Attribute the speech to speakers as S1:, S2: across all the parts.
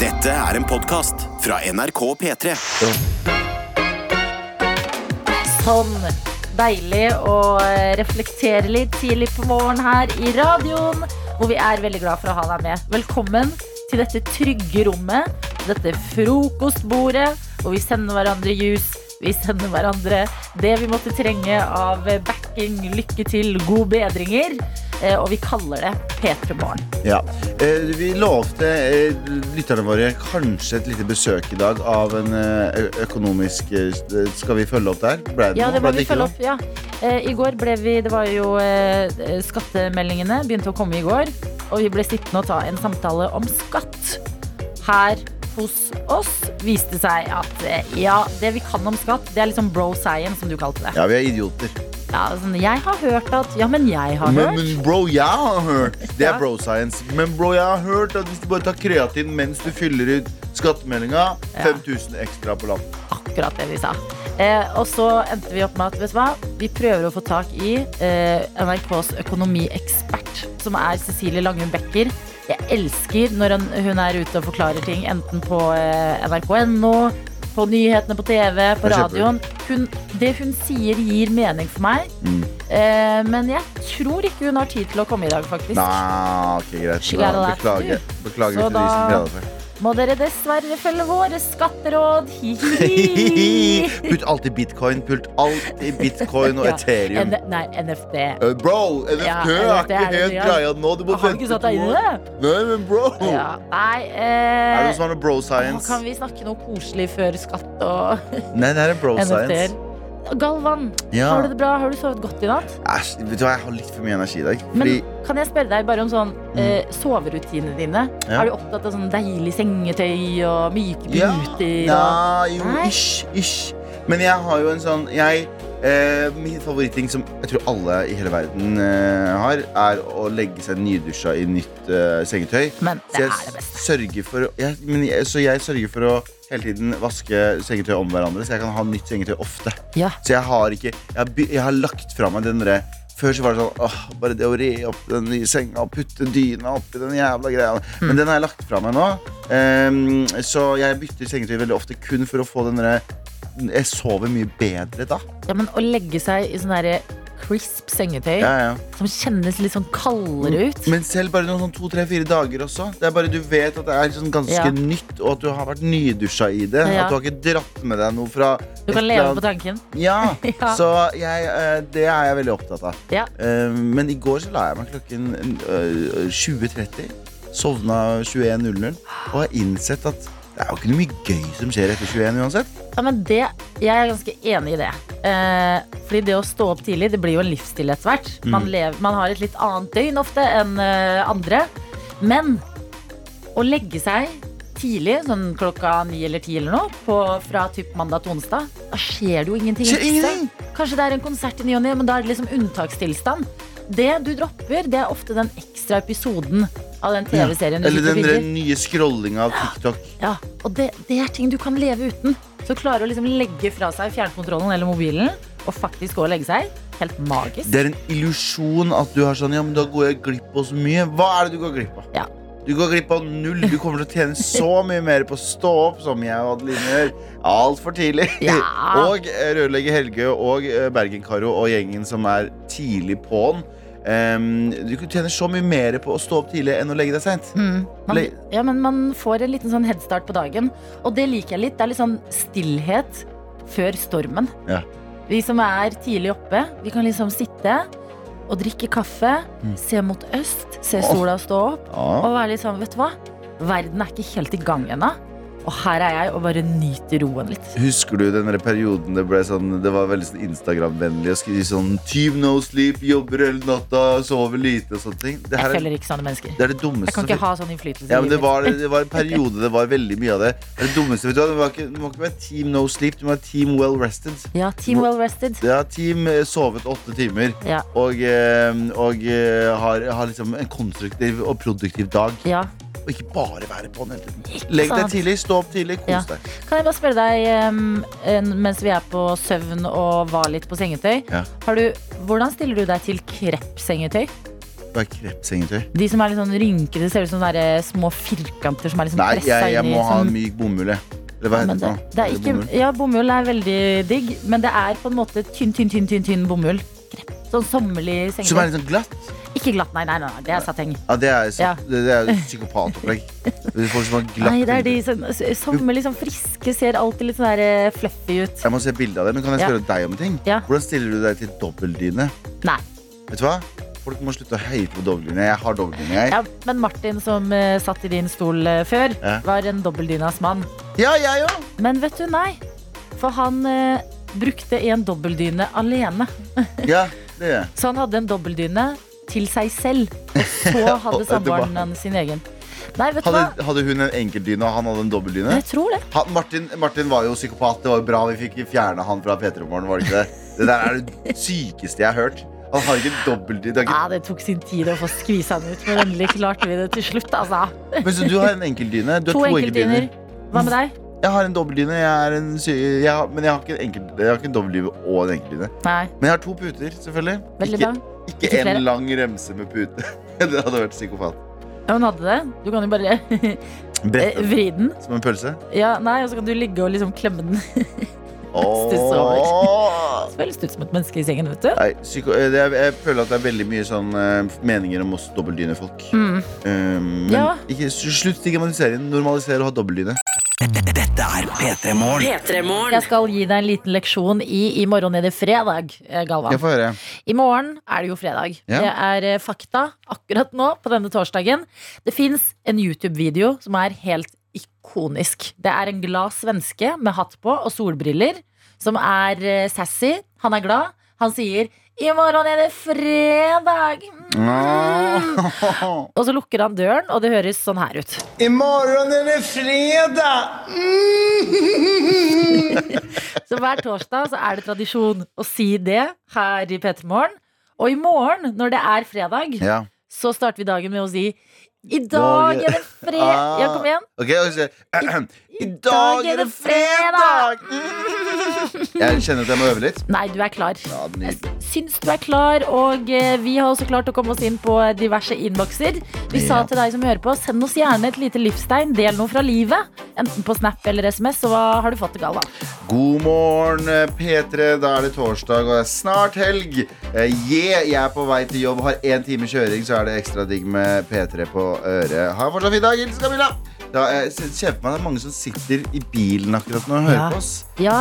S1: Dette er en podcast fra NRK P3.
S2: Sånn. Deilig å eh, reflektere litt tidlig på morgen her i radioen, hvor vi er veldig glad for å ha deg med. Velkommen til dette trygge rommet, dette frokostbordet, hvor vi sender hverandre jus. Vi sender hverandre det vi måtte trenge av backing, lykke til, gode bedringer. eh, Og vi kaller det P3 Morgen.
S3: Ja. Eh, vi lovte eh, lytterne våre kanskje et lite besøk i dag av en eh, ø- økonomisk eh, Skal vi følge opp der? Ble
S2: Ja,
S3: noe?
S2: det må
S3: Ble
S2: vi
S3: ikke
S2: følge
S3: noe?
S2: opp. Ja. Eh, I går ble vi Det var jo eh, skattemeldingene begynte å komme i går. Og vi ble sittende og ta en samtale om skatt her hos oss. Viste seg at eh, ja, det vi kan om skatt, det er liksom bro science, som du kalte det.
S3: Ja, vi er idioter.
S2: Ja, sånn, jeg har hørt at Ja, men jeg har
S3: Men,
S2: hørt.
S3: men bro, jeg har hørt. Det
S2: Ja.
S3: er bro science. Men bro, jeg har hørt at hvis du bare tar kreatin mens du fyller ut skattemeldinga,
S2: Ja.
S3: 5000 ekstra på lappen.
S2: Akkurat det vi sa. Eh, og så endte vi opp med at vet du hva? vi prøver å få tak i eh, NRKs økonomiekspert, som er Cecilie Langum Becker. Jeg elsker når hun, hun er ute og forklarer ting, enten på eh, nrk.no, på nyhetene på TV, på
S3: Jeg kjøper.
S2: radioen. Hun, det hun sier, gir mening for meg.
S3: Mm.
S2: Eh, men jeg tror ikke hun har tid til å komme i dag, faktisk.
S3: Nei, ok, greit.
S2: She got a lot to
S3: Beklager. Beklager
S2: Så
S3: til de som
S2: da-
S3: gleder seg.
S2: Må dere dessverre følge våre skatteråd. Hi-hi-hi.
S3: Putt alltid bitcoin. Putt alltid bitcoin og
S2: Ja.
S3: Ethereum.
S2: N- Nei, NFD.
S3: Eh, Bro, NFT
S2: Ja,
S3: er
S2: NFT er
S3: ikke
S2: det
S3: helt
S2: nye.
S3: greia nå. Du må
S2: Har du ikke
S3: vente
S2: satt deg
S3: to
S2: inn i
S3: år.
S2: det?
S3: Nei, men bro!
S2: Ja, nei
S3: Er det noe
S2: eh,
S3: som er noe bro
S2: å,
S3: science?
S2: Kan vi snakke noe koselig før skatt og
S3: Nei, det er en bro
S2: NFT-er?
S3: science.
S2: Galvan,
S3: Ja.
S2: har du det bra? Har du sovet godt i natt?
S3: Æsj, vet du hva, jeg har litt for mye energi i dag.
S2: Men
S3: Fordi Mm.
S2: kan jeg spørre deg bare om sånn eh, soverutinene dine?
S3: Ja.
S2: Er du opptatt av sånn deilig sengetøy og myke
S3: Ja,
S2: puter? og-
S3: Ja, jo,
S2: Nei.
S3: ish, ish. Men jeg har jo en sånn jeg, eh, Min favoritting som jeg tror alle i hele verden eh, har, er å legge seg nydusja i nytt eh, sengetøy.
S2: Men
S3: Så
S2: det
S3: jeg,
S2: er det beste.
S3: sørger for, å- jeg, men jeg, så jeg sørger for å hele tiden vaske sengetøy om hverandre, så jeg kan ha nytt sengetøy ofte.
S2: Ja.
S3: Så jeg har ikke Jeg har, by- jeg har lagt fra meg den derre før så var det sånn åh, Bare det å re opp den nye senga og putte dyna oppi den jævla greia.
S2: Mm.
S3: Men den har jeg lagt fra meg nå. Ehm, så jeg bytter sengetøy veldig ofte kun for å få den derre Jeg sover mye bedre da.
S2: ja, men å legge seg i sånn derre crisp sengetøy
S3: Ja, Mm. ja.
S2: som kjennes litt sånn kaldere ut.
S3: Men selv bare noen sånn to, tre, fire dager også. Det er bare Du vet at det er sånn ganske
S2: Ja.
S3: nytt, og at du har vært nydusja i det.
S2: Ja.
S3: At du har ikke dratt med deg noe fra
S2: Du kan leve på tanken.
S3: Ja,
S2: Ja.
S3: så jeg, eh, det er jeg veldig opptatt av.
S2: Ja.
S3: Eh, Men i går så la jeg meg klokken eh, 20.30. Sovna 21.00. Og har innsett at det er jo ikke noe mye gøy som skjer etter 21 uansett.
S2: Ja, men det, jeg er ganske enig i det. Eh, fordi det å stå opp tidlig, det blir jo en livsstil etter hvert.
S3: Mm.
S2: Man, lever, man har et litt annet døgn ofte enn eh, andre. Men å legge seg tidlig, sånn klokka ni eller ti eller noe, på, fra typ mandag til onsdag, da skjer det jo ingenting.
S3: Skjer
S2: ekstra.
S3: ingenting!
S2: Kanskje det er en konsert i ny og ne, men da er det liksom unntakstilstand. Det du dropper, det er ofte den ekstra episoden av den TV-serien du
S3: Eller
S2: sitter og
S3: den
S2: bygger.
S3: der nye scrollinga av TikTok.
S2: Ja, og det, det er ting du kan leve uten. Så klarer å liksom legge fra seg fjernkontrollen eller mobilen og faktisk gå og legge seg. Helt magisk.
S3: Det er en illusjon at du har sånn Ja, men da går jeg glipp av så mye. Hva er det du går glipp av?
S2: Ja.
S3: Du går glipp av null. Du kommer til å tjene så mye mer på å stå opp som jeg og Adeline gjør. Altfor tidlig.
S2: Ja.
S3: Og eh, rørlegger Helge og eh, Bergen-Karo og gjengen som er tidlig på'n. Em, du tjener så mye mer på å stå opp tidlig enn å legge deg seint.
S2: Mm. Man,
S3: Le-
S2: ja, men man får en liten sånn headstart på dagen. Og det liker jeg litt. Det er litt sånn stillhet før stormen.
S3: Ja.
S2: Vi som er tidlig oppe, vi kan liksom sitte og drikke kaffe,
S3: Mm.
S2: se mot øst, se sola stå opp
S3: Ja.
S2: og være litt sånn, vet du hva? Verden er ikke helt i gang ennå. Og her er jeg og bare nyter roen litt.
S3: Husker du den der perioden det ble sånn Det var veldig sånn Instagram-vennlig å skrive sånn Team no sleep, jobber hele natta, sover lite og sånne ting. Det,
S2: Jeg
S3: her er,
S2: følger ikke sånne mennesker.
S3: det er det dummeste
S2: Jeg kan
S3: som
S2: ikke ha sånn innflytelse.
S3: Ja, men
S2: i livet
S3: det var, det var en periode det var veldig mye av det. Det, er det dummeste, vet du hva? Det var ikke, Du må ikke være Team No Sleep, du må være Team Well Rested.
S2: mitt. Ja, Team Well Rested.
S3: Det er Team eh, sovet åtte timer
S2: Ja.
S3: og, eh, og eh, har, har liksom en konstruktiv og produktiv dag.
S2: Ja.
S3: Og ikke bare være på den hele tiden.
S2: Ikke
S3: Legg deg
S2: sant.
S3: tidlig, stå opp tidlig, kos
S2: Ja.
S3: deg.
S2: Kan jeg bare spørre deg, em, en- mens vi er på søvn og var litt på sengetøy
S3: Ja.
S2: har du, Hvordan stiller du deg til kreppsengetøy?
S3: Hva er krepsengetøy?
S2: De som er litt sånn rynkete, ser ut som sånne der, eh, små firkanter som er liksom
S3: Nei, jeg,
S2: presset
S3: jeg
S2: inn i
S3: må ha
S2: som-
S3: myk bomull, jeg. Eller hva
S2: Ja, men
S3: heter
S2: det,
S3: det?
S2: det er ikke, ja, bomull er veldig digg, men det er på en måte tynn, tynn, tynn, tynn, tynn bomull. Sånn sommerlig
S3: Som er
S2: sengetøy.
S3: litt sånn glatt?
S2: Ikke glatt, nei, nei, nei, nei, det er sateng.
S3: Ja, det er,
S2: Ja.
S3: ja. er psykopatopplegg. Folk som har glatt
S2: Nei, det er de som, sommerlig, sånn friske, ser alltid litt sånn der eh, fluffy ut.
S3: Jeg må se bilde av det, men kan jeg
S2: Ja.
S3: spørre deg om en ting?
S2: Ja.
S3: Hvordan stiller du deg til dobbeltdyne?
S2: Nei.
S3: Vet du hva? Folk må slutte å heie på dobbeltdyne. Jeg har dobbeltdyne, jeg.
S2: Ja, men Martin som eh, satt i din stol eh, før,
S3: Ja.
S2: var en dobbeldynas mann.
S3: Ja, jeg òg!
S2: Men vet du, nei. For han eh, brukte en dobbeldyne alene.
S3: Ja, det gjør jeg.
S2: Så han hadde en dobbeldyne til seg selv. Og så hadde
S3: Og etterpå-
S2: samboeren hans sin egen. Nei, vet du hva?
S3: Hadde, hadde hun en enkeltdyne, og han hadde en dobbeltdyne?
S2: Jeg tror det.
S3: Han- Martin, Martin var jo psykopat. Det var jo bra vi fikk fjerna han fra P3 Morgen, var det ikke det? Det der er det sykeste jeg har hørt. Han har ikke dobbeltdyne. det er
S2: Ja, det tok sin tid å få skvisa han ut, men endelig klarte vi det til slutt. Altså.
S3: ikke- Men så du har en enkeltdyne? Du
S2: To
S3: har to
S2: enkeltdyner.
S3: enkeltdyner.
S2: Hva med deg?
S3: Jeg har en dobbeltdyne, jeg er en sy... Jeg har, men jeg har ikke en, enkelt, jeg har ikke en dobbeltdyne og en enkeltdyne.
S2: Nei,
S3: Men jeg har to puter, selvfølgelig.
S2: veldig bra.
S3: Ikke, ikke
S2: Ikke flere.
S3: en lang remse med pute. det hadde vært psykopat.
S2: Ja, hun hadde det. Du kan jo bare eh,
S3: Brett den
S2: vri den.
S3: som en pølse.
S2: Ja, nei, og så kan du ligge og liksom klemme den. Stusser
S3: Åh.
S2: Føles ut som et menneske i sengen, vet du.
S3: Nei, psyko, eh, det er, jeg føler at det er veldig mye sånn eh, meninger om oss dobbeltdynefolk.
S2: Mm.
S3: Um, men
S2: Ja.
S3: ikke, slutt stigmatisere. Normalisere å ha dobbeltdyne.
S1: Dette er P3 Morgen.
S4: P3morgen.
S2: Jeg skal gi deg en liten leksjon i I morgen er det fredag, eh, Galvan.
S3: Jeg får høre.
S2: I morgen er det jo fredag.
S3: Ja.
S2: Det er eh, fakta akkurat nå på denne torsdagen. Det fins en YouTube-video som er helt ikonisk. Det er en glad svenske med hatt på og solbriller som er eh, sassy. Han er glad. Han sier 'I morgen er det fredag'. Mm.
S3: Åh.
S2: Og så lukker han døren, og det høres sånn her ut.
S5: Imorgon är det fredag!
S2: Så hver torsdag så er det tradisjon å si det her i P3 Morgen. Og i morgen, når det er fredag,
S3: Ja.
S2: så starter vi dagen med å si I dag er det fred...
S3: Ah.
S2: Ja, kom igjen.
S3: Ok, og så, I dag er det fredag! Jeg kjenner at jeg må øve litt.
S2: Nei, du er klar.
S3: Ja,
S2: Jeg
S3: nydelig.
S2: syns du er klar, og eh, vi har også klart å komme oss inn på diverse innbokser. Vi sa
S3: Ja.
S2: til deg som hører på, send oss gjerne et lite livstegn. Del noe fra livet. Enten på Snap eller SMS, så hva har du fått til galla?
S3: God morgen, P3. Da er det torsdag, og det er snart helg. Eh, Yeah, jeg er på vei til jobb, har én time kjøring, så er det ekstra digg med P3 på øret. Ha en fortsatt fin dag. Hils Camilla. Da, eh, se- se for meg det er mange som sitter i bilen akkurat nå og hører
S2: Ja.
S3: på oss.
S2: Ja,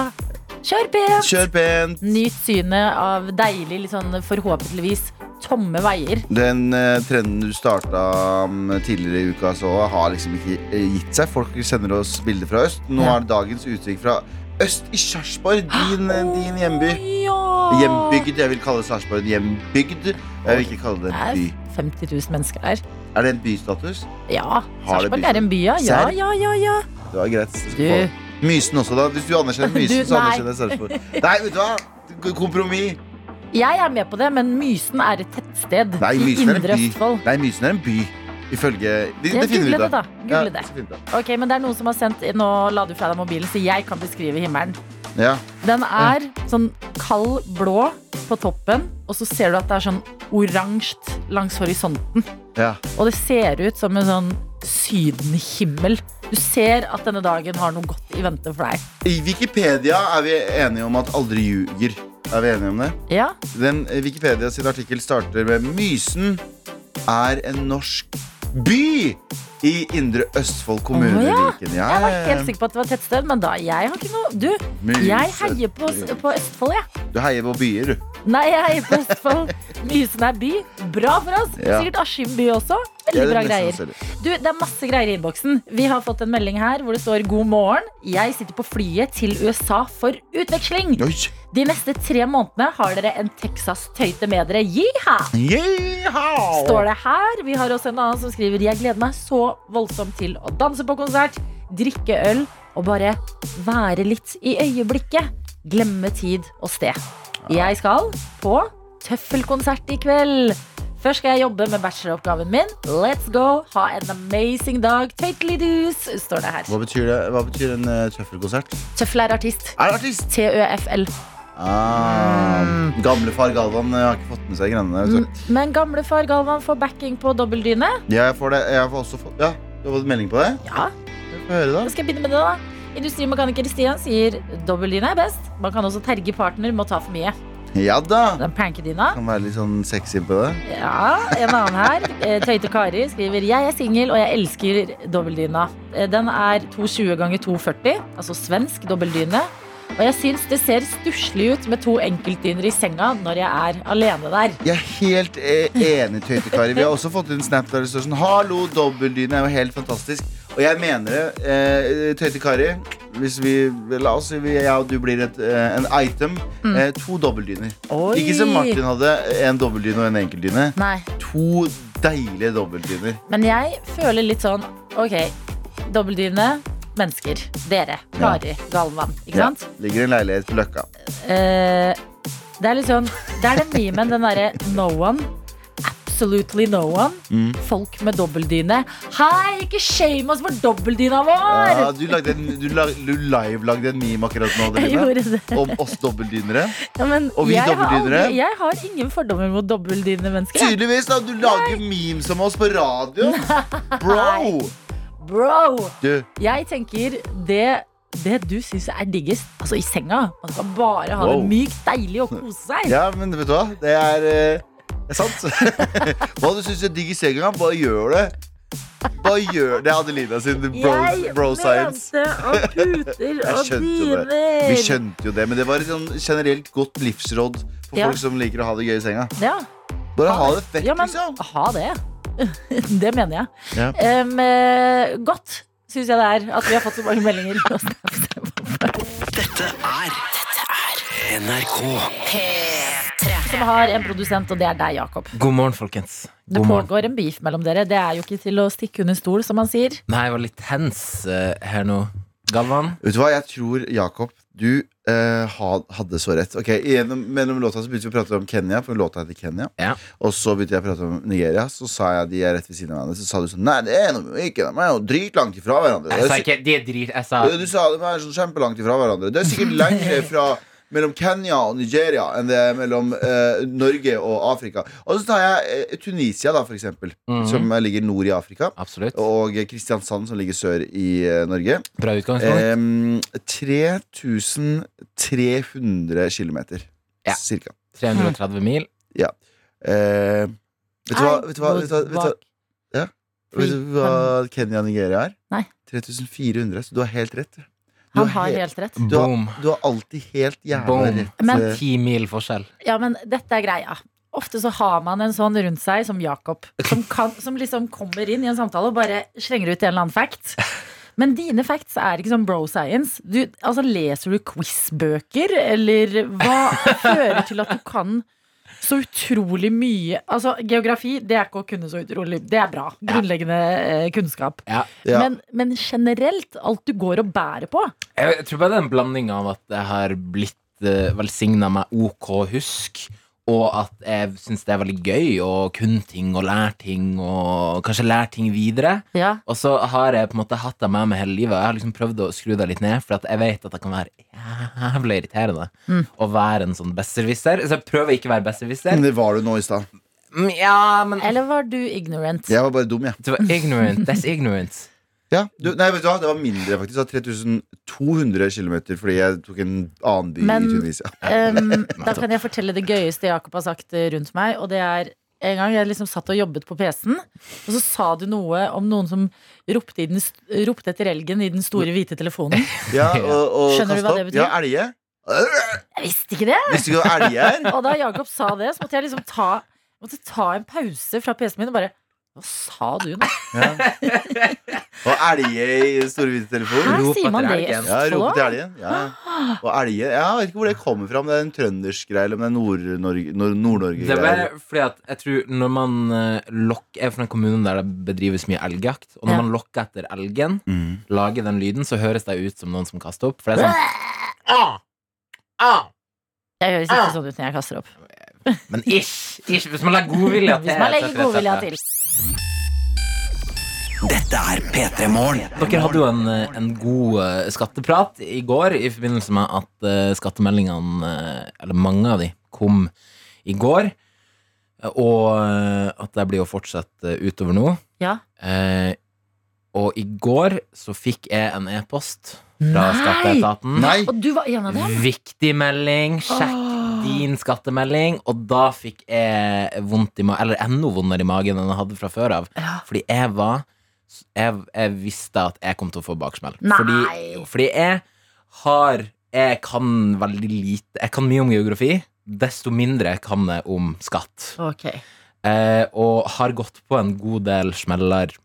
S2: kjør pent!
S3: Kjør pent.
S2: Nyt synet av deilig, litt sånn forhåpentligvis tomme veier.
S3: Den eh, trenden du starta mm, tidligere i uka, så har liksom ikke eh, gitt seg. Folk sender oss bilder fra øst. Nå
S2: Ja.
S3: er dagens uttrykk fra øst i Sarpsborg, din, eh, din hjemby.
S2: Å, Ja.
S3: Hjembygd. Jeg vil kalle Sarpsborg en hjembygd. Jeg vil ikke kalle
S2: Det
S3: det en
S2: er
S3: by.
S2: 50 000 mennesker her.
S3: Er det en bystatus?
S2: Ja.
S3: Har det
S2: Sarpsborg
S3: by-
S2: er en by, ja. Ja,
S3: Serr?
S2: ja, ja. ja.
S3: Det var greit. så skal
S2: Du.
S3: få- Mysen også, da. Hvis du anerkjenner Mysen,
S2: Du,
S3: så
S2: nei.
S3: anerkjenner jeg Sarpsborg. Nei, vet du hva? K- Kompromiss.
S2: Jeg er med på det, men Mysen er et tettsted
S3: Nei,
S2: i
S3: Mysen er en
S2: Indre
S3: by.
S2: Østfold.
S3: Nei, Mysen er en by. Ifølge Det,
S2: Ja,
S3: det finner vi
S2: Google
S3: ut
S2: det,
S3: av.
S2: da. Google
S3: Ja,
S2: det.
S3: så fint da.
S2: Ok, men det er noen som har sendt Nå la du fra deg mobilen, så jeg kan beskrive himmelen.
S3: Ja.
S2: Den er sånn kald blå på toppen, og så ser du at det er sånn oransje langs horisonten.
S3: ja.
S2: Og det ser ut som en sånn sydenhimmel. Du ser at denne dagen har noe godt i vente for deg.
S3: I Wikipedia er vi enige om at aldri ljuger. Er vi enige om det?
S2: Ja,
S3: Den eh, Wikipedia sin artikkel starter med Mysen er en norsk by i Indre Østfold kommune.
S2: Å, ja.
S3: Viken.
S2: jeg var
S3: ja,
S2: ikke helt sikker på at det var et tettsted, men da jeg har ikke noe Du,
S3: Mysen.
S2: jeg heier på, på Østfold, jeg.
S3: Du heier på byer, du.
S2: Nei, jeg heier på Østfold. Mysen er by. Bra for oss.
S3: Ja.
S2: Sikkert Askim by også.
S3: Ja,
S2: Veldig
S3: det er
S2: bra
S3: nesten
S2: greier.
S3: selv.
S2: Du, Det er masse greier i innboksen. Vi har fått en melding her hvor det står 'God morgen'. Jeg sitter på flyet til USA for utveksling.
S3: Oi.
S2: De neste tre månedene har dere en Texas-tøyte med dere. Jiha!
S3: Yeehaw!
S2: Står det her. Vi har også en annen som skriver 'Jeg gleder meg så voldsomt til å danse på konsert, drikke øl og bare være litt i øyeblikket. Glemme tid og sted'. Jeg skal på tøffelkonsert i kveld. Først skal jeg jobbe med bacheloroppgaven min. Let's go! Ha en amazing dag. Tøytelidus, står det her.
S3: Hva betyr, det? Hva betyr en uh, eh, tøffelkonsert?
S2: Tøffel er artist.
S3: Er det artist?
S2: T-ø-f-l.
S3: Ah,
S2: Mm.
S3: Gamlefar Galvan eh, har ikke fått med seg greiene der. vet
S2: Men gamlefar Galvan får backing på dobbeldyne.
S3: du. Ja, jeg får det. Jeg får også få, ja, du har fått melding på det?
S2: Ja,
S3: Få høre, da.
S2: da skal jeg begynne med det, da. Industrimekaniker Stian sier dobbeldyne er best. Man kan også terge partner med å ta for mye.
S3: Ja da.
S2: Den plankedyna.
S3: Kan være litt sånn sexy på det.
S2: Ja, en annen her. eh, Tøyte Kari skriver Jeg er singel, og jeg elsker dobbeldyna. Eh, Den er 220 ganger 240, altså svensk dobbeldyne. Og jeg syns det ser stusslig ut med to enkeltdyner i senga når jeg er alene der.
S3: Jeg er helt eh, enig, Tøytekari. Vi har også fått en snap der det står sånn Hallo, dobbeltdyne er jo helt fantastisk. Og jeg mener det. Eh, Tøytekari, hvis vi La oss si vi- jeg og du blir et, eh, en item. Eh, to dobbeltdyner.
S2: Mm. Oi.
S3: Ikke som Martin hadde, en dobbeltdyne og en enkeltdyne.
S2: Nei,
S3: To deilige dobbeltdyner.
S2: men jeg føler litt sånn Ok, dobbeltdyne, mennesker. Dere. Kari Galvan. Ikke
S3: Ja,
S2: sant?
S3: ligger i en leilighet på Løkka.
S2: Eh, det er litt sånn Det er den memen, den derre no one. Absolutely no one.
S3: Mm.
S2: Folk med dobbeltdyne. Hei, ikke shame oss for dobbeltdyna vår!
S3: Ja, du lagde en, du la, du live-lagde en meme akkurat nå
S2: jeg
S3: Adelina,
S2: gjorde det.
S3: om oss dobbeltdynere.
S2: Ja, men
S3: Og vi
S2: jeg har
S3: dobbeltdynere?
S2: aldri- Jeg har ingen fordommer mot dobbeltdynende mennesker. jeg.
S3: Tydeligvis! da, Du lager memes om oss på radio! Bro!
S2: Bro!
S3: Du,
S2: Jeg tenker det det du syns er diggest, altså i senga. Man skal bare ha
S3: Wow.
S2: det mykt, deilig og kose seg.
S3: Ja, men vet du hva? Det er, eh, det er sant. hva du syns er digg i senga, bare gjør det. Bare gjør Det er Adelina sin bro,
S2: Jeg
S3: bro science.
S2: mente og puter
S3: Jeg
S2: og
S3: skjønte jo det.
S2: dyner.
S3: Vi skjønte jo det, men det var et sånn generelt godt livsråd for
S2: Ja.
S3: folk som liker å ha det gøy i senga.
S2: Ja.
S3: Bare ha det vekk,
S2: Ja, men
S3: liksom.
S2: ha det. det mener jeg.
S3: Ja.
S2: Em, eh, godt syns jeg det er at vi har fått så mange meldinger. og snaps.
S1: Dette er NRK.
S2: Som har en produsent, og det er deg, Jakob.
S4: God morgen, folkens.
S2: Det
S4: God morgen.
S2: pågår en beef mellom dere. Det er jo ikke til å stikke under stol, som man sier.
S4: Nei, jeg var litt hens eh, her nå. Galvan?
S3: Vet du hva, jeg tror, Jakob, du eh, ha- hadde så rett. Ok, gjennom, Mellom låta så begynte vi å prate om Kenya, for låta heter Kenya.
S4: Ja.
S3: Og så begynte jeg å prate om Nigeria, så sa jeg de er rett ved siden av hverandre. Så sa du sånn Nei, det er de jo ikke. De er jo dritlangt ifra hverandre.
S4: Jeg
S3: Det
S4: sa
S3: er
S4: ikke De er drit... Jeg sa
S3: Eh, Ja, Du sa de er sånn kjempelangt ifra hverandre. Det er sikkert lengre fra mellom Kenya og Nigeria enn det er mellom eh, Norge og Afrika. Og så tar jeg eh, Tunisia, da, for eksempel,
S4: Mhm.
S3: som eh, ligger nord i Afrika.
S4: Absolutt.
S3: Og Kristiansand, som ligger sør i eh, Norge.
S4: Bra
S3: Eh,
S4: utgangspunkt.
S3: Em, 3300 km,
S4: Ja.
S3: cirka. mm.
S4: 330 mil.
S3: Eh, vet, du hva,
S2: I
S3: vet, du hva, vet, du hva, vet, du hva,
S2: would
S3: vet du hva Kenya og Nigeria er?
S2: Nei.
S3: 3400, så du har helt rett. du. Du
S2: Han
S3: har
S2: har
S3: he-
S2: helt rett.
S3: Du har,
S4: Boom.
S3: du har alltid helt jævla
S4: Boom.
S3: rett.
S2: Men-
S3: eh,
S4: 10 mil forskjell.
S2: Ja, men dette er greia. Ofte så har man en sånn rundt seg som Jakob, som, kan, som liksom kommer inn i en samtale og bare slenger ut en eller annen fact. Men dine facts er ikke sånn bro science. Du, altså, leser du quiz-bøker, eller hva fører til at du kan så utrolig mye Altså, geografi, det er ikke å kunne så utrolig Det er bra. Grunnleggende eh, kunnskap.
S4: Ja.
S3: Ja.
S2: Men, men generelt, alt du går og bærer på
S4: Jeg, jeg tror bare det er en blanding av at jeg har blitt uh, velsigna med OK husk, og at jeg syns det er veldig gøy å kunne ting og lære ting, og kanskje lære ting videre.
S2: Ja,
S4: Og så har jeg på en måte hatt det med meg hele livet. og Jeg har liksom prøvd å skru det litt ned, for at jeg vet at det kan være jævlig irriterende å være en sånn besserwisser. Så jeg prøver ikke å være besserwisser.
S3: Men det var du nå i stad.
S4: Mm, Ja, men
S2: Eller var du ignorant?
S3: Jeg var bare dum, jeg.
S4: det var ignorant. That's ignorant.
S3: Ja. Du, nei, vet du hva, det var mindre, faktisk. Det var 3200 km fordi jeg tok en annen by
S2: Men-
S3: i Tunisia.
S2: Um, da kan jeg fortelle det gøyeste Jakob har sagt eh, rundt meg. Og det er en gang jeg liksom satt og jobbet på PC-en, og så sa du noe om noen som ropte, i den, st- ropte etter elgen i den store hvite telefonen.
S3: Ja, og, og
S2: Skjønner du
S3: kastet
S2: hva det
S3: opp.
S2: betyr?
S3: Ja, elge.
S2: Jeg visste ikke det!
S3: Visste ikke hva elge er?
S2: Og da Jakob sa det, så måtte jeg liksom ta, jeg måtte ta en pause fra PC-en min og bare Hva sa du nå?
S3: Og elge i store hvite telefon.
S2: Hæ,
S4: Rop
S2: sier man
S4: etter
S2: det i
S4: elgen.
S3: Ja,
S2: Østfold
S3: rope til
S2: òg?
S3: elgen. Ja. Og elge ja, Jeg vet ikke hvor det kommer fra, om det er en trøndersk greie eller om det er Nord-Norge. Nord Nord-Norge
S4: Det er
S3: greie.
S4: bare fordi at jeg tror når man eh, lokk- Jeg er fra en kommune der det bedrives mye elgjakt, og når
S2: Ja.
S4: man lokker etter elgen,
S3: Mm.
S4: lager den lyden, så høres det ut som noen som kaster opp. For det er sånn ah, ah.
S2: Jeg høres ikke sånn ut når jeg kaster opp.
S4: Men ish, ish, hvis man legger godvilja til.
S2: Hvis man legger
S4: etcetera, etcetera.
S2: godvilja til.
S1: Dette er P3 Morgen.
S4: Dere hadde jo en, eh, en god eh, skatteprat i går i forbindelse med at eh, skattemeldingene, eh, eller mange av de, kom i går. Eh, Og eh, at det blir å fortsette eh, utover nå.
S2: Ja.
S4: Eh, og i går så fikk jeg en e-post fra
S2: Nei!
S4: skatteetaten.
S3: Nei!
S2: Og du var en av dem?
S4: Viktig melding. Sjekk
S2: Åh.
S4: din skattemelding. Og da fikk jeg vondt i magen, eller enda vondere i magen enn jeg hadde fra før av.
S2: Ja.
S4: Fordi jeg var Jeg, jeg visste at jeg kom til å få baksmell.
S2: Nei.
S4: Fordi, fordi jeg har Jeg kan veldig lite Jeg kan mye om geografi. Desto mindre kan jeg om skatt.
S2: Ok.
S4: Eh, og har gått på en god del smeller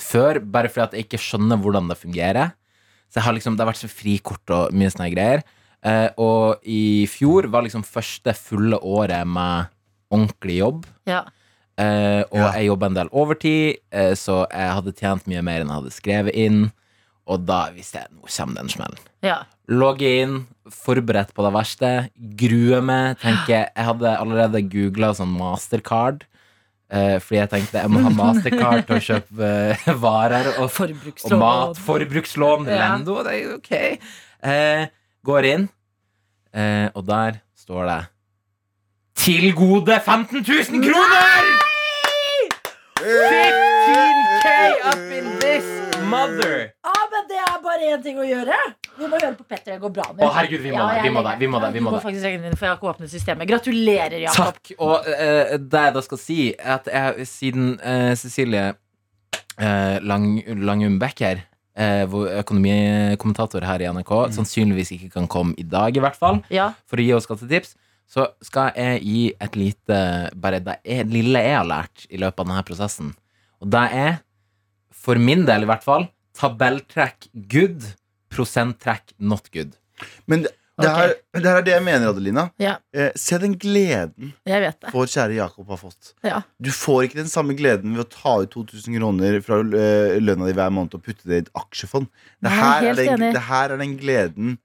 S4: før, bare fordi at jeg ikke skjønner hvordan det fungerer. Så jeg har liksom, Det har vært så frikort og mye sånne greier. Eh, og i fjor var liksom første fulle året med ordentlig jobb.
S2: Ja.
S4: Eh, og
S3: Ja.
S4: jeg jobba en del overtid, eh, så jeg hadde tjent mye mer enn jeg hadde skrevet inn. Og da visste jeg nå kommer den smellen.
S2: ja.
S4: Logge inn, forberedt på det verste, grue meg. Tenker, jeg hadde allerede googla sånn mastercard, eh, fordi jeg tenkte jeg må ha mastercard til å kjøpe eh, varer og, og
S2: Forbrukslån.
S4: mat. Forbrukslån.
S2: Ja.
S4: Lendo, det er jo ok. Eh, går inn, eh, og der står det Til gode 15 000 kroner!
S3: Eh,
S4: 15K up in this mother!
S2: Ja, men det er bare én ting å gjøre. Vi må høre på Petter. Det går bra med
S4: Å, herregud, vi må det,
S2: jeg
S4: vi må
S2: legger-
S4: det, vi må det, vi må
S2: Du må
S4: det.
S2: faktisk legge den inn, for jeg har ikke åpnet systemet. Gratulerer, Jakob.
S4: Takk. Og eh, det jeg da skal si, er at jeg siden eh, Cecilie eh, Lang, Langum Beck her, eh, vår økonomikommentator her i NRK, sannsynligvis ikke kan komme i dag, i hvert fall,
S2: Ja.
S4: for å gi oss skattetips, så skal jeg gi et lite Bare det er, lille jeg har lært i løpet av denne prosessen. Og det er, for min del i hvert fall, tabelltrekk good, prosenttrekk not good.
S3: Men det, det,
S2: Ok.
S3: her, det her er det jeg mener, Adelina.
S2: Ja.
S3: Eh, se den gleden
S2: Jeg vet det.
S3: vår kjære Jakob har fått.
S2: Ja.
S3: Du får ikke den samme gleden ved å ta ut 2000 kroner fra eh, lønna di hver måned og putte det i et aksjefond.
S2: Nei,
S3: Det her, er
S2: helt
S3: den,
S2: enig.
S3: det her er den gleden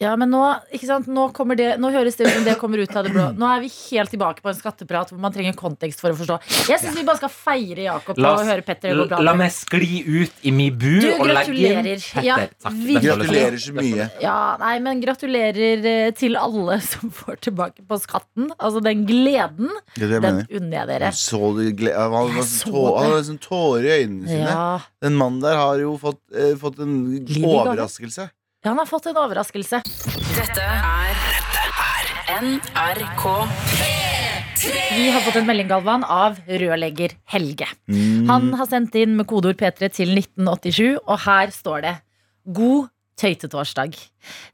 S2: Ja, men nå, ikke sant? Nå, kommer det, nå høres det ut som det kommer ut av det blå. Nå er vi helt tilbake på en skatteprat hvor man trenger kontekst for å forstå. Jeg syns vi bare skal feire Jakob
S4: La
S2: og
S4: oss-
S2: høre Petter. Det går
S4: La
S2: bra. med.
S4: meg skli ut i min bu
S2: Du,
S4: og legge inn
S2: gratulerer.
S4: Petter.
S2: Ja,
S4: Takk.
S2: virkelig.
S4: Dette var det
S3: Gratulerer så
S4: sånn.
S3: mye.
S2: Ja, nei, men gratulerer eh, til alle som får tilbake på skatten. Altså den gleden,
S3: Det er det jeg
S2: den
S3: mener.
S2: unner jeg
S3: Du
S2: dere.
S3: Så du gled... Han hadde
S2: Jeg så
S3: sånn tå-
S2: det.
S3: han hadde sånn tårer i øynene sine.
S2: Ja.
S3: Den mannen der har jo fått, eh, fått
S2: i
S3: en
S2: gave.
S3: overraskelse.
S2: Ja, han har fått en overraskelse.
S6: Dette er NRK.
S2: Vi har fått en melding, Galvan, av rørlegger Helge. Han har sendt inn med kodeord P3 til 1987, og her står det God tøytetorsdag.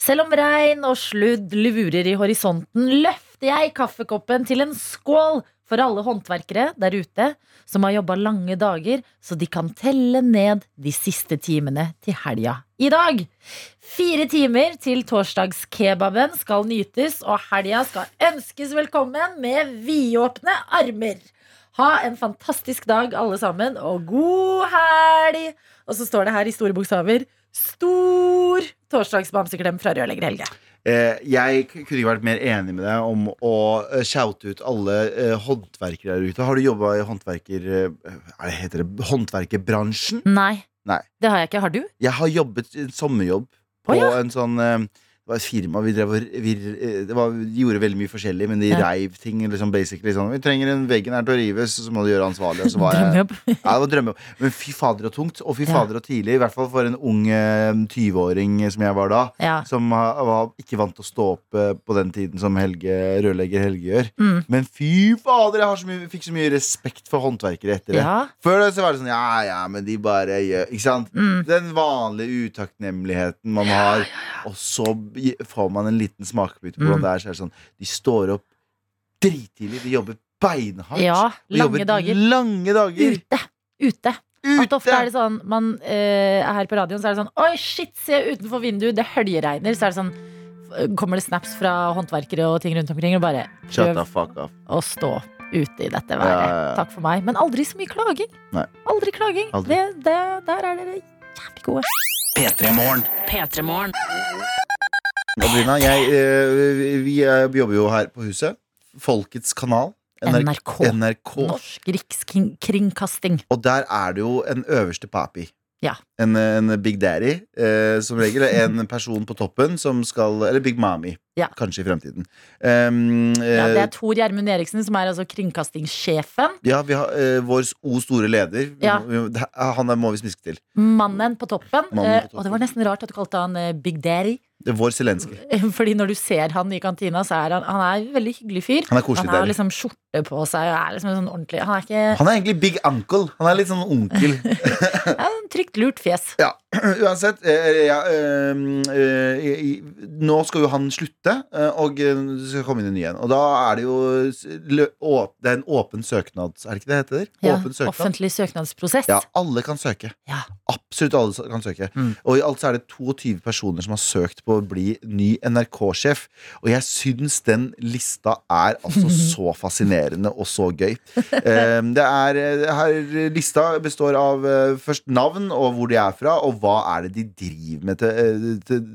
S2: Selv om regn og sludd lurer i horisonten, løfter jeg kaffekoppen til en skål for alle håndverkere der ute som har jobba lange dager, så de kan telle ned de siste timene til helga i dag. Fire timer til torsdagskebaben skal nytes, og helga skal ønskes velkommen med vidåpne armer. Ha en fantastisk dag, alle sammen, og god helg! Og så står det her i store bokstaver Stor torsdagsbamseklem fra rørlegger Helge.
S3: Eh, jeg k- kunne ikke vært mer enig med deg om å eh, shoute ut alle eh, håndverkere der ute. Har du jobba i håndverker... Eh, hva heter det? Håndverkerbransjen?
S2: Nei,
S3: Nei.
S2: det har jeg ikke. Har du?
S3: Jeg har jobbet i en sommerjobb på
S2: Å, ja.
S3: en sånn eh, det var et firma vi drev og vi, eh, det var, de gjorde veldig mye forskjellig, men de
S2: Ja.
S3: reiv ting. Liksom, basically sånn Vi trenger en veggen her til å rives, så må du gjøre ansvarlig. Og så var jeg,
S2: Drømmejobb.
S3: Ja, det var drømmejobb. Men fy fader og tungt, og fy
S2: Ja.
S3: fader og tidlig. I hvert fall for en ung eh, 20-åring som jeg var da.
S2: Ja.
S3: Som ha- var ikke vant til å stå opp eh, på den tiden som Helge, rørlegger Helge gjør.
S2: Mm.
S3: Men fy fader, jeg har så mye, fikk så mye respekt for håndverkere etter det.
S2: ja.
S3: Før det så var det sånn Ja, ja, men de bare gjør Ikke sant?
S2: Mm.
S3: Den vanlige utakknemligheten man har. Og så gi- får man en liten smakebit på
S2: Mm.
S3: hvordan det er. Så er det sånn De står opp drittidlig, de jobber beinhardt.
S2: ja.
S3: de jobber
S2: Lange dager.
S3: Lange dager
S2: Ute. Ute. At ofte
S3: ute.
S2: er det sånn man eh, er her på radioen, så er det sånn Oi, shit, se utenfor vinduet, det høljeregner. Så er det sånn eh, Kommer det snaps fra håndverkere og ting rundt omkring, og bare
S3: Shut
S2: prøv
S3: the fuck up.
S2: å stå ute i dette
S3: Ja,
S2: været.
S3: ja, ja.
S2: Takk for meg. Men aldri så mye klaging.
S3: Nei.
S2: Aldri klaging.
S3: Aldri.
S2: Det, det, der er dere jævlig gode.
S1: P3 Morgen.
S6: P3morgen.
S3: Adelina, jeg, eh, vi, vi jobber jo her på huset. Folkets kanal.
S2: NRK.
S3: NRK.
S2: Norsk Rikskringkasting.
S3: Og der er det jo en øverste papi.
S2: Ja.
S3: En, en big daddy, eh, som regel. En person på toppen som skal Eller big mommy,
S2: Ja.
S3: kanskje i fremtiden. Um, eh,
S2: Ja, det er Tor Gjermund Eriksen, som er altså kringkastingssjefen.
S3: ja, vi har eh, vår O store leder. Vi
S2: Ja.
S3: må- vi må- det- han der må vi smiske til.
S2: Mannen på toppen.
S3: Mannen på
S2: Eh,
S3: toppen.
S2: Og det var nesten rart at du kalte han eh, Big Daddy. eh,
S3: Det er vår Zelenskyj.
S2: Fordi når du ser han i kantina, så er han, han er en veldig hyggelig fyr.
S3: Han er koselig
S2: Han har
S3: daddy.
S2: liksom skjorte på seg og er liksom en sånn ordentlig Han er ikke
S3: Han er egentlig big uncle. Han er litt sånn onkel.
S2: ja, en trygt lurt fjes.
S3: Ja, uansett eh, ja, ehm, eh, i- i- Nå skal jo han slutte eh, Og eh, det skal komme inn en ny igjen Og da er det jo s- lø- å- Det er en åpen søknad, er det ikke det det heter?
S2: Ja,
S3: åpen søknad
S2: offentlig søknadsprosess.
S3: Ja, alle kan søke
S2: Ja.
S3: Absolutt alle s- kan søke Og i alt så er det 22 personer som har søkt på å bli ny NRK-sjef Og jeg synes den lista er altså så fascinerende og så gøy Ehm, Det er, eh, her lista består av eh, først navn og hvor de er fra Og hva er det de driver med til, eh, til,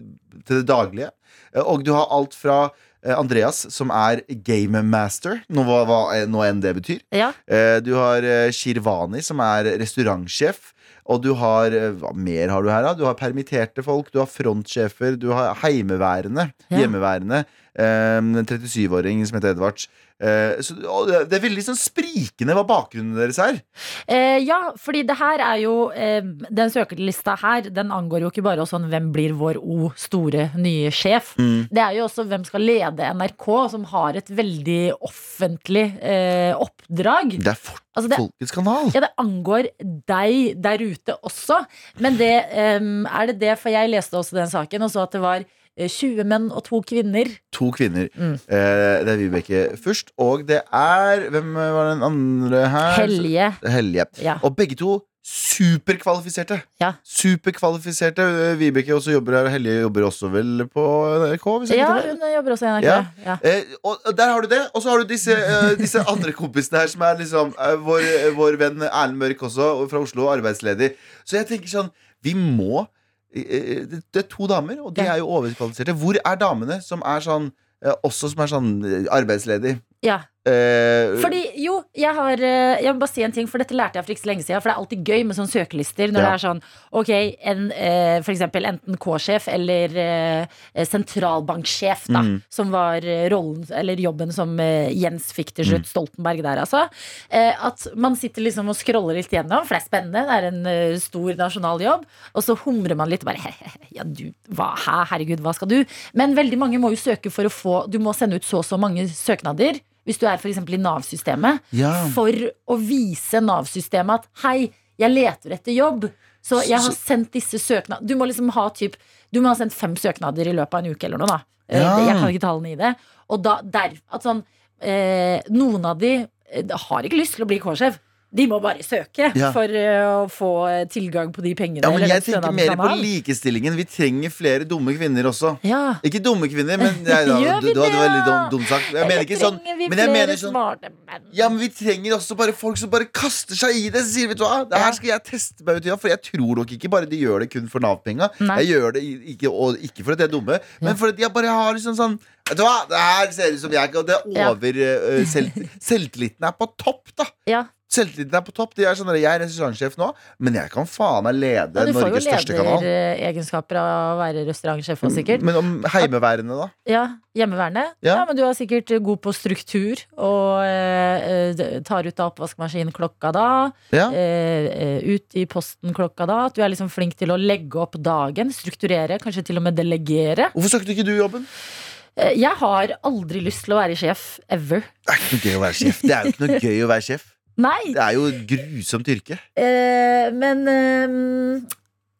S3: til det daglige Eh, Og du har alt fra eh, Andreas som er game master Nå hva, hva nå enn det betyr
S2: Ja,
S3: Eh, Du har eh, Shirvani, som er restaurantsjef. Og du har eh, Hva mer har du her, da? Du har permitterte folk, du har frontsjefer, du har heimeværende.
S2: Ja.
S3: Hjemmeværende. eh, En 37-åring som heter Edvards. Eh, Så og det det er veldig sånn sprikende hva bakgrunnen deres er.
S2: eh, ja fordi det her er jo eh, Den søkerlista her Den angår jo ikke bare oss sånn hvem blir vår O store nye sjef. Det er jo også hvem skal lede NRK, som har et veldig offentlig eh, oppdrag.
S3: Det er fort
S2: Altså, det
S3: Folkets kanal.
S2: Ja, det angår deg der ute også. Men det em, er det det, for jeg leste også den saken og så at det var eh, 20 menn og to kvinner.
S3: To kvinner.
S2: Mm.
S3: Eh, Det er Vibeke først, og det er Hvem var den andre her?
S2: Hellige.
S3: Helje.
S2: Ja.
S3: Og begge to superkvalifiserte.
S2: Ja.
S3: Superkvalifiserte. Eh, Vibeke også jobber her, og Helje jobber også vel på NRK? Hvis jeg
S2: Ja,
S3: ikke tar feil.
S2: hun jobber også i NRK.
S3: Ja.
S2: Ja.
S3: Eh, og og der har du det. Og så har du disse, eh, disse andre kompisene her, som er liksom eh, vår, eh, vår venn Erlend Mørk også, og fra Oslo, arbeidsledig. Så jeg tenker sånn Vi må eh, Det det er to damer, og de
S2: Ja.
S3: er jo overkvalifiserte. Hvor er damene som er sånn eh, også som er sånn eh, arbeidsledig?
S2: Ja.
S3: Eh,
S2: Fordi, jo, jeg har eh, Jeg må bare si en ting, for dette lærte jeg for ikke så lenge siden. For det er alltid gøy med sånne søkelister når
S3: Ja.
S2: det er sånn Ok, en, eh, for eksempel enten K-sjef eller eh, sentralbanksjef, da. Som var eh, rollen, eller jobben som eh, Jens fikk til slutt. Stoltenberg der, altså. Eh, at man sitter liksom og scroller litt gjennom, for det er spennende. Det er en eh, stor nasjonal jobb. Og så humrer man litt og bare «Hehehe, Ja, du, hva, hæ, herregud, hva skal du? Men veldig mange må jo søke for å få Du må sende ut så og så mange søknader. Hvis du er f.eks. i Nav-systemet.
S3: Ja.
S2: For å vise Nav-systemet at hei, jeg leter etter jobb. Så jeg har sendt disse søknadene Du må liksom ha typ Du må ha sendt fem søknader i løpet av en uke eller noe, da. Eh,
S3: Ja.
S2: Jeg kan ikke tallene i det. Og da, der, at sånn eh, Noen av de eh, har ikke lyst til å bli K-sjef. De må bare søke
S3: Ja.
S2: for eh, å få eh, tilgang på de pengene.
S3: Ja, men
S2: eller
S3: jeg
S2: den
S3: tenker
S2: stønaden
S3: mer
S2: man
S3: på
S2: har.
S3: likestillingen. Vi trenger flere dumme kvinner også.
S2: ja.
S3: Ikke dumme kvinner, men nei, da,
S2: Gjør
S3: du,
S2: vi
S3: du hadde
S2: det,
S3: veldig dum,
S2: da?
S3: dum sagt. Jeg mener
S2: Eller
S3: ikke sånn,
S2: trenger vi
S3: men jeg
S2: flere
S3: mener sånn
S2: smarte menn?
S3: ja, men Vi trenger også bare folk som bare kaster seg i det. Sier, vet du hva? Det her skal jeg teste meg ut i, ja, for jeg tror nok ikke bare de gjør det kun for Nav-penga.
S2: Nei.
S3: Jeg gjør det i- ikke, og ikke for at de er dumme, men for at de bare har liksom sånn Vet du hva, det her ser ut som jeg kan Det er
S2: Ja.
S3: over eh, selv, Selvtilliten er på topp, da.
S2: Ja.
S3: Selvtilliten er på topp. De er sånn, jeg er restaurantsjef nå, men jeg kan faen meg lede
S2: Ja, du får jo
S3: Norges største kanal.
S2: lederegenskaper av å være restaurantsjef også, sikkert.
S3: Men om heimeværende, da?
S2: Ja, Hjemmeværende. Ja.
S3: Ja.
S2: men du er sikkert god på struktur og eh, eh, tar ut av oppvaskmaskinen klokka da.
S3: Ja.
S2: Eh, eh, ut i posten klokka da. At du er liksom flink til å legge opp dagen, strukturere, kanskje til og med delegere.
S3: Hvorfor søkte ikke du jobben?
S2: Eh, jeg har aldri lyst til å være sjef. Ever.
S3: Det er ikke noe gøy å være sjef. Det er jo ikke noe gøy å være sjef.
S2: Nei!
S3: Det er jo et grusomt yrke.
S2: Eh, men eh,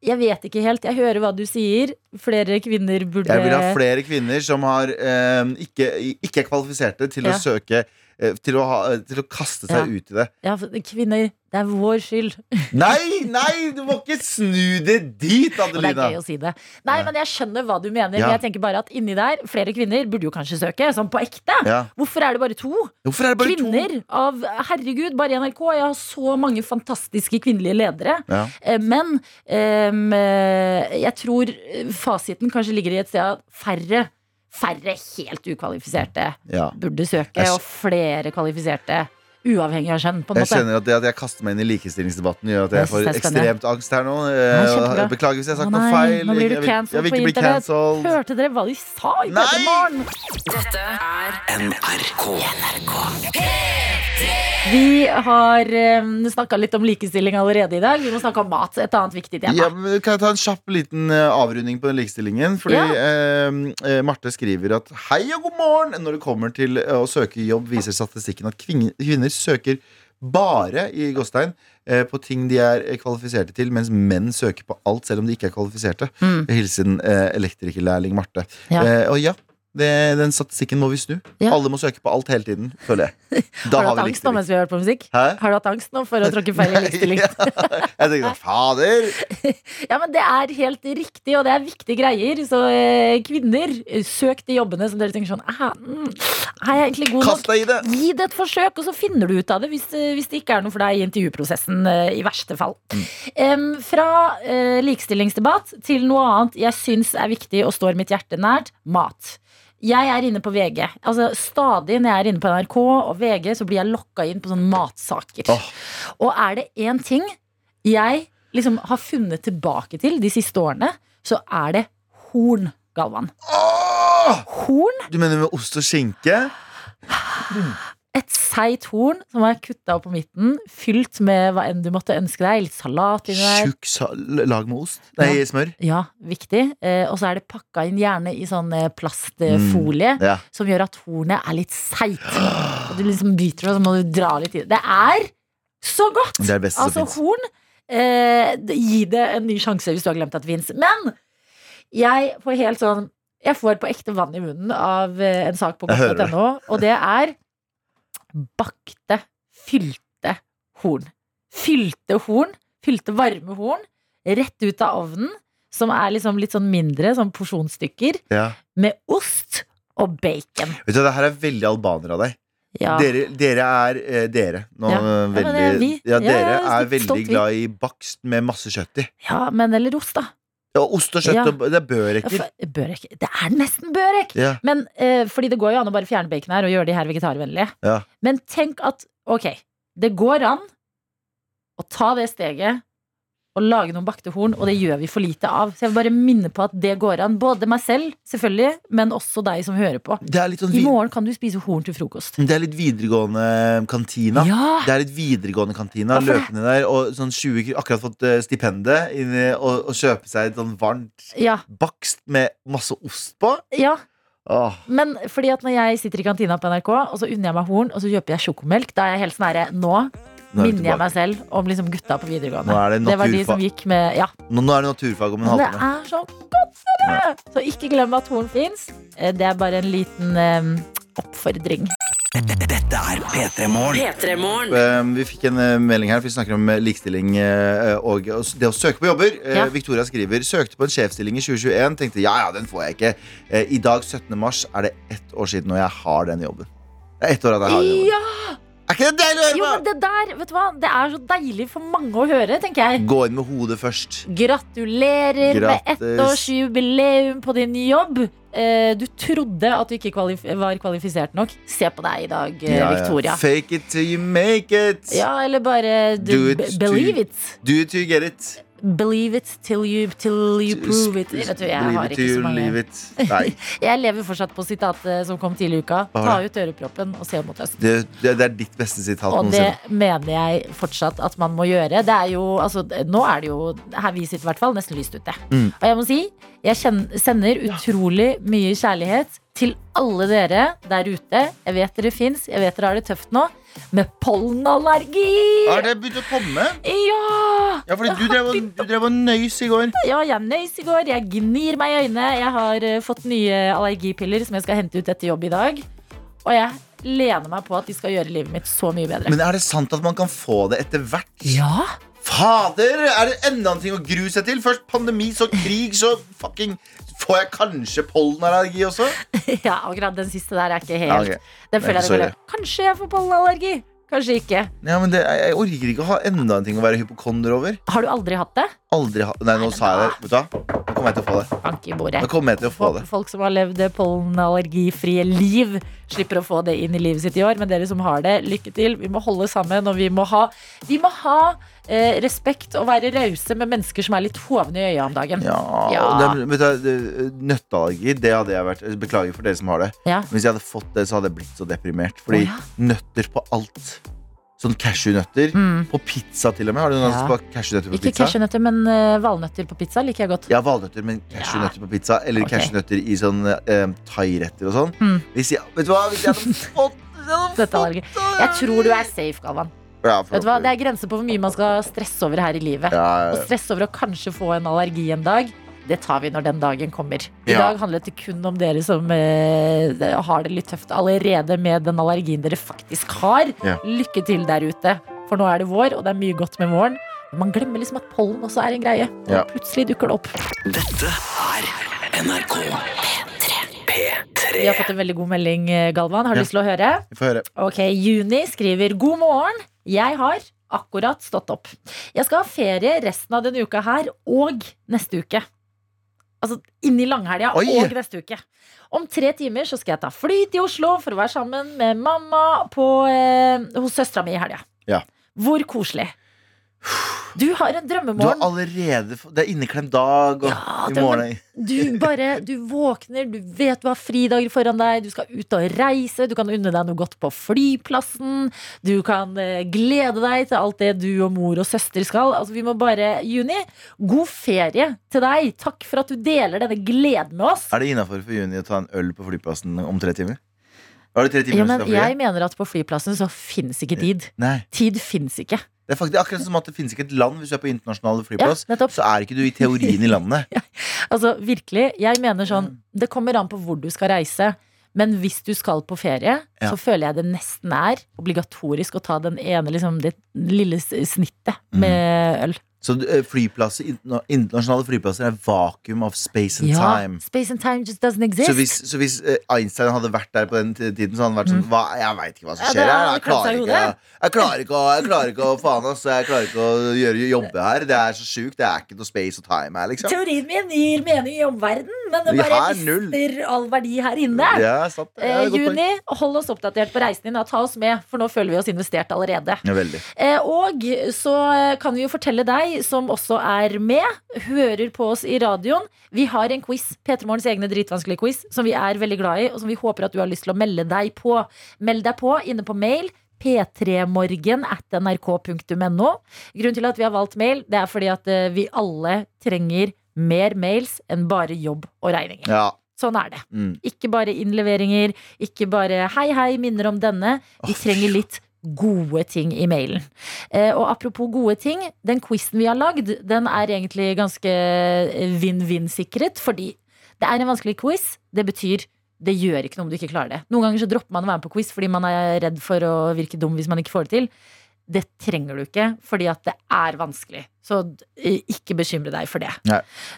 S2: jeg vet ikke helt. Jeg hører hva du sier. Flere kvinner burde
S3: Jeg vil ha flere kvinner som har, eh, ikke, ikke er kvalifiserte til
S2: Ja.
S3: å søke eh, til å, ha, til å kaste seg
S2: Ja.
S3: ut i det.
S2: ja, kvinner, det er vår skyld.
S3: Nei, nei, du må ikke snu det dit,
S2: Og det er
S3: Adelina!
S2: gøy å si det. Nei, men jeg skjønner hva du mener.
S3: Ja.
S2: Men jeg tenker bare at inni der, flere kvinner burde jo kanskje søke, sånn på ekte.
S3: Ja.
S2: Hvorfor er det bare to?
S3: Hvorfor er det bare
S2: kvinner av Herregud, bare i NRK. Jeg har så mange fantastiske kvinnelige ledere.
S3: to? Ja.
S2: Eh, Men ehm, em, eh, jeg tror fasiten kanskje ligger i et sted at færre færre helt ukvalifiserte
S3: Ja.
S2: burde søke,
S3: Jeg s-
S2: og flere kvalifiserte uavhengig av kjønn, på en
S3: Jeg
S2: måte.
S3: skjønner at det at jeg kaster meg inn i likestillingsdebatten, gjør at jeg
S2: Jeg synes
S3: får
S2: det er spennende.
S3: ekstremt angst her nå.
S2: Nei,
S3: Eh,
S2: kjempebra.
S3: og Beklager hvis jeg har
S2: Å
S3: sagt noe
S2: nei,
S3: feil.
S2: nå blir du
S3: Jeg vil- jeg
S2: cancelled
S3: vil
S2: på
S3: ikke bli
S2: internett.
S3: cancelled.
S2: Hørte dere hva de sa i
S3: Nei!
S2: Petermorgen?
S6: Dette er
S1: NRK.
S2: Vi har um, snakka litt om likestilling allerede i dag. Vi må snakke om mat. Et annet viktig tema.
S3: Ja, men kan jeg ta en kjapp liten eh, avrunding på den likestillingen? Fordi
S2: Ja.
S3: eh, eh, Marte skriver at Hei og god morgen! Når det kommer til eh, å søke jobb, viser statistikken at kvin- kvinner søker bare i Gåstein eh, på ting de er eh, kvalifiserte til, mens menn søker på alt selv om de ikke er kvalifiserte.
S2: Mm.
S3: Hilsen eh, elektrikerlærling Marte.
S2: Ja.
S3: Eh, og ja, det, den statistikken må vi snu.
S2: Ja.
S3: Alle må søke på alt hele tiden, føler jeg.
S2: har
S3: Da
S2: du
S3: har
S2: hatt
S3: vi
S2: angst nå
S3: likestilling.
S2: mens vi har hørt på musikk?
S3: Hæ?
S2: Har du hatt angst nå for å tråkke feil i likestilling?
S3: Ja. Jeg tenkte fader!
S2: Ja, men det er helt riktig, og det er viktige greier. Så eh, kvinner, eh, søk de jobbene som dere tenker sånn "Ah, mm, Er jeg egentlig god
S3: Kast
S2: nok?
S3: deg i det!
S2: Gi det et forsøk, og så finner du ut av det hvis, eh, hvis det ikke er noe for deg i intervjuprosessen. eh, I verste fall. Em, fra eh, likestillingsdebatt til noe annet jeg syns er viktig og står mitt hjerte nært mat. Jeg er inne på VG. Altså Stadig når jeg er inne på NRK og VG, så blir jeg lokka inn på sånne matsaker.
S3: Åh.
S2: Og er det én ting jeg liksom har funnet tilbake til de siste årene, så er det horn, Galvan.
S3: Åh!
S2: Horn
S3: Du mener med ost og skinke?
S2: et seigt horn som er kutta opp på midten, fylt med hva enn du måtte ønske deg. Litt salat inni der.
S3: Tjukk sa- lag med ost? Nei, smør.
S2: Ja, viktig. Eh, og så er det pakka inn gjerne i sånn eh, plastfolie.
S3: Ja.
S2: Som gjør at hornet er litt seigt. Og Du liksom biter det, og så må du dra litt i det. Det er så godt!
S3: Det er det beste
S2: Altså
S3: som fins.
S2: horn eh, d- Gi det en ny sjanse hvis du har glemt at det fins. Men jeg får helt sånn Jeg får på ekte vann i munnen av eh, en sak på
S3: Jeg hører det.
S2: godt.no, og det er bakte, fylte horn. Fylte horn. Fylte varme horn. Rett ut av ovnen, som er liksom litt sånn mindre, sånn porsjonsstykker,
S3: Ja.
S2: med ost og bacon.
S3: Vet du, hva, det her er veldig albaner av deg.
S2: Ja.
S3: Dere, dere er eh, dere. Nå,
S2: Ja.
S3: eh,
S2: men det
S3: veldig,
S2: er vi. Ja,
S3: ja, dere
S2: ja,
S3: er
S2: stolt-
S3: veldig
S2: stolt vi.
S3: glad i bakst med masse kjøtt i.
S2: ja, men eller ost, da.
S3: Ja, ost og kjøtt
S2: Ja.
S3: og Det er børekker.
S2: Børek. Det er nesten børek!
S3: Ja.
S2: Men, eh, fordi det går jo an å bare fjerne bacon her og gjøre de her vegetarvennlige.
S3: Ja.
S2: Men tenk at ok, det går an å ta det steget og lage noen bakte horn, og det gjør vi for lite av. Så jeg vil bare minne på at det går an. Både meg selv, selvfølgelig, men også deg som hører på.
S3: Det er litt sånn
S2: I
S3: vid-
S2: morgen kan du spise horn til frokost.
S3: det er litt videregående eh, kantina.
S2: Ja!
S3: Det er litt videregående kantina.
S2: Hvorfor det?
S3: Løpende der Og sånn 20 kr- Akkurat fått eh, stipendet inn i- og, og kjøpe seg et sånn varmt
S2: Ja,
S3: bakst med masse ost på.
S2: ja.
S3: Åh.
S2: Men fordi at når jeg sitter i kantina på NRK, og så unner jeg meg horn, og så kjøper jeg sjokomelk, da er jeg helt sånn herre Nå
S3: Nå er vi
S2: minner jeg
S3: tilbake.
S2: meg selv om liksom gutta på videregående.
S3: Nå er det
S2: det var de
S3: naturfag.
S2: som gikk med Ja.
S3: Nå, nå er det naturfag om en
S2: Det
S3: halvtime.
S2: er så godt, dere! Så ikke glem at horn fins. Eh, Det er bare en liten eh, oppfordring.
S1: Dette er P3 Morgen.
S6: P3 Morgen.
S3: Um, vi fikk en uh, melding her, for vi snakker om uh, likestilling uh, og og s- det å søke på jobber. Uh,
S2: Ja.
S3: Victoria skriver søkte på en sjefsstilling i 2021. Tenkte ja, ja, den får jeg ikke. Uh, I dag, 17. mars, er det ett år siden, og jeg har den jobben. Det er ett år at jeg har den jobben.
S2: Ja!
S3: Er ikke det deilig å
S2: Jo,
S3: høre
S2: men det der, vet du hva? Det er så deilig for mange å høre, tenker
S3: på?
S2: jeg.
S3: Gå inn med hodet først.
S2: Gratulerer med
S3: Grattis.
S2: ettårsjubileum på din jobb. Eh, Du trodde at du ikke kvalif var kvalifisert nok. Se på deg i dag, eh,
S3: Ja, ja.
S2: Victoria.
S3: Fake it till you make it.
S2: Ja, eller bare
S3: Do
S2: du,
S3: it
S2: be-
S3: to-
S2: Believe it.
S3: Do it till you get it.
S2: Believe it till you, till you prove it. Vet du, jeg
S3: Believe
S2: har
S3: it till
S2: ikke så
S3: you
S2: mange
S3: leave it. Nei,
S2: Jeg lever fortsatt på sitatet som kom tidligere i uka.
S3: Hva var
S2: Ta
S3: det?
S2: ut øreproppen og se mot øst.
S3: det, det, det er ditt beste sitat
S2: Og det
S3: noensinne.
S2: mener jeg fortsatt at man må gjøre. Det er jo, altså, nå er det jo, her vi sitter i hvert fall, nesten lyst ute.
S3: Mm.
S2: Og jeg må si, jeg kjen- sender utrolig mye kjærlighet til alle dere der ute. Jeg vet dere fins, jeg vet dere har det tøft nå. Med pollenallergi!
S3: Har det begynt å komme?
S2: Ja!
S3: Ja, fordi du drev, og- du drev og nøys i går.
S2: Ja, jeg nøys i går. Jeg gnir meg i øynene. Jeg har eh, fått nye allergipiller som jeg skal hente ut etter jobb i dag. Og jeg lener meg på at de skal gjøre livet mitt så mye bedre.
S3: Men er det sant at man kan få det etter hvert?
S2: ja,
S3: Fader! Er det enda en ting å grue seg til? Først pandemi, så krig, så fucking Får jeg kanskje pollenallergi også?
S2: ja, akkurat den siste der er ikke helt
S3: Ja, ok.
S2: Den føler jeg det
S3: Sorry.
S2: går over. Kanskje jeg får pollenallergi. Kanskje ikke.
S3: Ja, men det, jeg, jeg orker ikke å ha enda en ting å være hypokonder over.
S2: Har du aldri hatt det?
S3: Aldri ha Nei, nå sa jeg det. Vet du hva? Nå kommer jeg til å få det.
S2: bank i bordet.
S3: Nå kommer jeg til å få det.
S2: Folk, folk som har levd pollenallergifrie liv, slipper å få det inn i livet sitt i år. Men dere som har det, lykke til. Vi må holde sammen, og vi må ha, vi må ha eh, respekt og være rause med mennesker som er litt hovne i øya om dagen.
S3: Ja,
S2: Ja.
S3: Det, vet du, det- Nøtteallergi, det hadde jeg vært Beklager for dere som har det.
S2: Ja.
S3: Hvis jeg hadde fått det, så hadde jeg blitt så deprimert. Fordi
S2: Å, ja.
S3: nøtter på alt. Sånn cashewnøtter.
S2: Mm.
S3: På pizza, til og med. Har du noen
S2: Ja.
S3: som har cashewnøtter på
S2: Ikke
S3: pizza?
S2: cashewnøtter, men eh, valnøtter på pizza liker jeg godt.
S3: Jeg har valnøtter, men cashewnøtter på pizza. Eller
S2: Ok.
S3: cashewnøtter i sånn eh, thairetter og sånn.
S2: Mm.
S3: Hvis jeg, vet du hva, hvis jeg hadde fått hvis jeg hadde
S2: Dette
S3: fått-
S2: allergi. Jeg tror du er safe, Galvan.
S3: Ja,
S2: Vet du hva? Det er grenser på hvor mye man skal stresse over her i livet.
S3: ja,
S2: Å
S3: ja.
S2: stresse over å kanskje få en allergi en dag, det tar vi når den dagen kommer. I
S3: Ja.
S2: dag handlet det kun om dere som eh, har det litt tøft allerede med den allergien dere faktisk har.
S3: Ja.
S2: Lykke til der ute, for nå er det vår, og det er mye godt med våren. Men man glemmer liksom at pollen også er en greie. Og
S3: Ja.
S2: Plutselig dukker det opp.
S1: Dette er NRK P3.
S2: Vi har fått en veldig god melding, eh, Galvan. Har du
S3: Ja.
S2: lyst til å høre?
S3: Vi får høre.
S2: Ok, Juni skriver God morgen, jeg har akkurat stått opp Jeg skal ha ferie resten av denne uka her Og neste uke Altså inni langhelga
S3: Oi!
S2: og neste uke Om tre timer så skal jeg ta fly til Oslo For å være sammen med mamma på, eh, Hos søstra mi i helga
S3: Ja.
S2: Hvor koselig Du har en
S3: Du har
S2: drømmemorgen
S3: allerede fått Det er inneklemt dag og
S2: Ja,
S3: i
S2: det-
S3: morgen
S2: du bare, du våkner, du vet du har fridager foran deg, du skal ut og reise, du kan unne deg noe godt på flyplassen, du kan eh, glede deg til alt det du og mor og søster skal. Altså, vi må bare, Juni, god ferie til deg. Takk for at du deler denne gleden med oss.
S3: Er det innafor for juni å ta en øl på flyplassen om tre timer? Har du tre timer
S2: Ja,
S3: du
S2: men
S3: skal fly?
S2: jeg mener at på flyplassen så fins ikke tid.
S3: Nei.
S2: Tid fins ikke.
S3: Det er faktisk akkurat som at det finnes ikke et land hvis du er på internasjonale
S2: Ja,
S3: flyplass.
S2: nettopp.
S3: Så er ikke du i teorien i landet.
S2: Altså, virkelig, jeg mener sånn
S3: Mm.
S2: Det kommer an på hvor du skal reise Men hvis du skal på ferie
S3: Ja.
S2: Så føler jeg det nesten er obligatorisk Å ta den ene, liksom, det lille s- snittet
S3: Mm.
S2: Med øl
S3: Så eh, flyplasser, interna- internasjonale flyplasser er vakuum of space and time.
S2: Space and time just doesn't exist
S3: Så hvis, så hvis eh, Einstein hadde vært der på den t- tiden, så hadde han vært sånn hva, Jeg veit ikke hva som
S2: Mm. Ja,
S3: skjer
S2: det
S3: her.
S2: hadde
S3: Jeg
S2: klødd seg i
S3: klarer ikke,
S2: hodet.
S3: jeg klarer ikke, å, jeg klarer ikke å faen ass, jeg klarer ikke å gjøre jobbe her. Det er så sjukt. Det er ikke noe space og time her, liksom.
S2: Teorien min gir mening i omverdenen Men den
S3: Vi
S2: bare
S3: har null.
S2: mister all verdi her inne
S3: Ja, sant. det er
S2: Eh,
S3: et godt poeng.
S2: juni, hold oss oppdatert på reisen din og Ta oss med, for nå føler vi oss investert allerede
S3: Ja, veldig.
S2: Eh, Og så eh, kan vi jo fortelle deg, som også er med, hører på oss i radioen. Vi har en quiz, P3morgens egne dritvanskelige quiz, som vi er veldig glad i, og som vi håper at du har lyst til å melde deg på. Meld deg på inne på mail. P3morgen at nrk.no. Grunnen til at vi har valgt mail, det er fordi at eh, vi alle trenger mer mails enn bare jobb og regninger.
S3: Ja.
S2: Sånn er det.
S3: Mm.
S2: Ikke bare innleveringer, ikke bare hei, hei, minner om denne. Vi
S3: Åh, fy
S2: trenger litt gode ting i mailen. Eh, og apropos gode ting, den quizen vi har lagd, den er egentlig ganske vinn-vinn-sikret, fordi det er en vanskelig quiz. Det betyr det gjør ikke noe om du ikke klarer det. Noen ganger så dropper man å være med på quiz fordi man er redd for å virke dum hvis man ikke får det til. Det trenger du ikke, fordi at det er vanskelig. Så eh, ikke bekymre deg for det.
S3: Nei.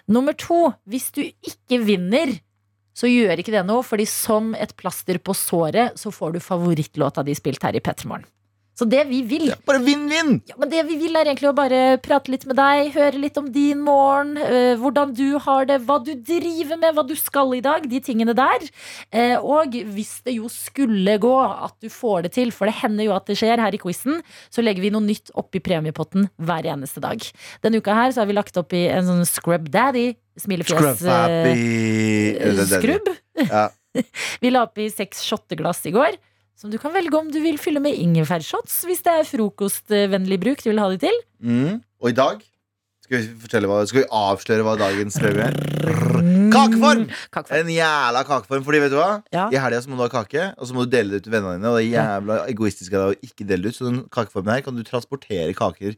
S2: Nummer to, hvis du ikke vinner, så gjør ikke det noe, fordi som et plaster på såret, så får du favorittlåta di spilt her i Petremorgen. Så det vi vil,
S3: Ja, Bare vinn-vinn!
S2: ja, men det vi vil er egentlig å bare prate litt med deg, høre litt om din morgen, eh, hvordan du har det, hva du driver med, hva du skal i dag, de tingene der. Eh, og hvis det jo skulle gå at du får det til, for det hender jo at det skjer her i quizen, så legger vi noe nytt opp i premiepotten hver eneste dag. Denne uka her så har vi lagt opp i en sånn Scrub Daddy, smilefjes.
S3: Scrub happy
S2: eh, Skrubb.
S3: Ja.
S2: Vi la oppi seks shotteglass i går. Som du kan velge om du vil fylle med ingefærshots hvis det er frokostvennlig bruk du vil ha de til.
S3: Mm. Og i dag skal vi, fortelle hva, skal vi avsløre hva dagens prøve er. Kakeform!
S2: Kakeform.
S3: En jævla kakeform. Fordi vet du hva?
S2: Ja.
S3: I helga så må du ha kake, og så må du dele det ut til vennene dine. Og det er jævla egoistisk av deg å ikke dele det ut. Så den kakeformen her kan du transportere kaker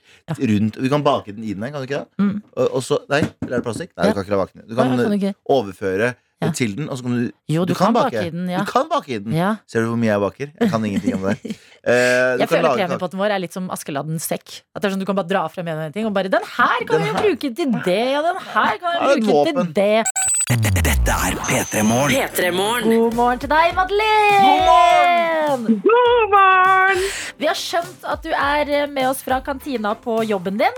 S3: rundt. Du kan bake den i den her, kan du ikke det?
S2: Mm.
S3: Og, og så, nei, eller er det plastikk? Nei,
S2: Ja.
S3: du kan ikke la bake den. Du
S2: Nei,
S3: kan, eh,
S2: jeg kan ikke.
S3: overføre
S2: Ja.
S3: til den, og så kan du
S2: Jo, du, kan, bake i den. Ja.
S3: Du kan bake i den.
S2: Ja.
S3: Ser du hvor mye jeg baker? Jeg kan ingenting om det. Eh, du
S2: Jeg
S3: kan
S2: føler
S3: lage kake.
S2: premiepotten vår er litt som Askeladdens sekk. At det er sånn Du kan bare dra frem en og en ting og bare 'Den her kan vi jo bruke til det', og 'den her kan vi
S3: Ja,
S2: bruke
S3: et
S2: til
S3: våpen.
S2: det'.
S1: Dette er P3 Morgen.
S6: P3-morgen.
S2: God morgen til deg, Madeleine! God morgen! Vi har skjønt at du er eh, med oss fra kantina på jobben din.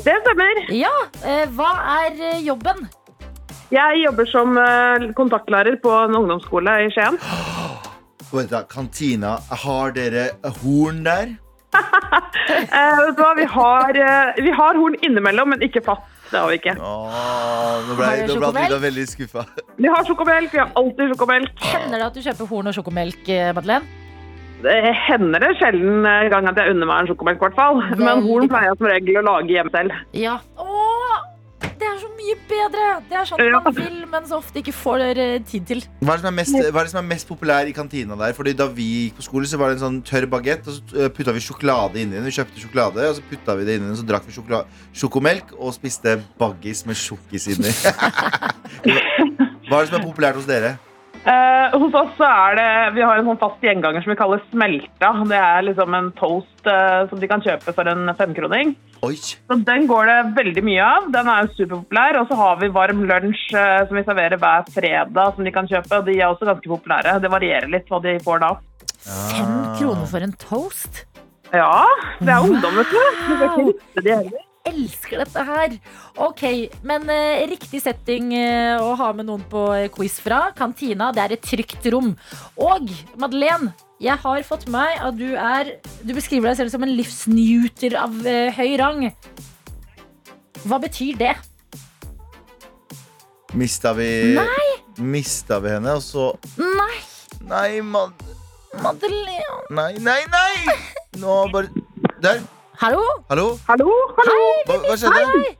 S7: Det stemmer.
S2: Ja, eh, Hva er eh, jobben?
S7: Jeg jobber som eh, kontaktlærer på en ungdomsskole i Skien.
S3: Vent da, Kantina, har dere horn der?
S7: Eh, vet du hva, vi har, eh, vi har horn innimellom, men ikke fast. Det har vi ikke.
S3: Åh, nå ble,
S2: Har dere
S3: nå ble
S2: sjokomelk?
S3: Adelina veldig skuffa.
S7: Vi har sjokomelk, vi har alltid sjokomelk.
S2: Hender det at du kjøper horn og sjokomelk, eh, Madeleine?
S7: Det hender det sjelden eh, gang at jeg unner meg en sjokomelk, i hvert fall. Men
S2: Veldig
S7: horn pleier jeg som regel å lage hjemme selv.
S2: Ja. Åh, det er så mye bedre! Det er sånn
S7: Ja.
S2: man vil, men så ofte ikke får eh, tid til.
S3: Hva er, det som er mest, hva er det som er mest populær i kantina der? Fordi Da vi gikk på skole, så var det en sånn tørr bagett, og så eh, putta vi sjokolade inni den. Vi kjøpte sjokolade, og så putta vi det inni den, så drakk vi sjokola- sjokomelk og spiste baggis med sjokkis inni. Hva er det som er populært hos dere?
S7: Eh, hos oss så er det, vi har en sånn fast gjenganger som vi kaller smelta. Det er liksom en toast eh, som de kan kjøpe for en femkroning.
S3: Oi!
S7: Så den går det veldig mye av. Den er jo superpopulær. Og så har vi varm lunsj eh, som vi serverer hver fredag som de kan kjøpe. Og de er også ganske populære. Det varierer litt hva de får da.
S2: Fem kroner for en toast?
S7: Ja, det er ungdom, vet du. Vi skal ikke riste de heller.
S2: Elsker dette her! Ok, men eh, riktig setting eh, å ha med noen på eh, quiz fra. Kantina, det er et trygt rom. Og Madeleine, jeg har fått med meg at du er Du beskriver deg selv som en livsnewter av eh, høy rang. Hva betyr det?
S3: Mista vi Mista vi henne, og så
S2: Nei,
S3: Nei, mann.
S2: Madeleine
S3: Nei, nei, nei! Nå bare Der.
S2: Hallo?
S3: Hallo?
S7: Hallo, hallo!
S3: Hva, hva skjedde?
S2: Hei!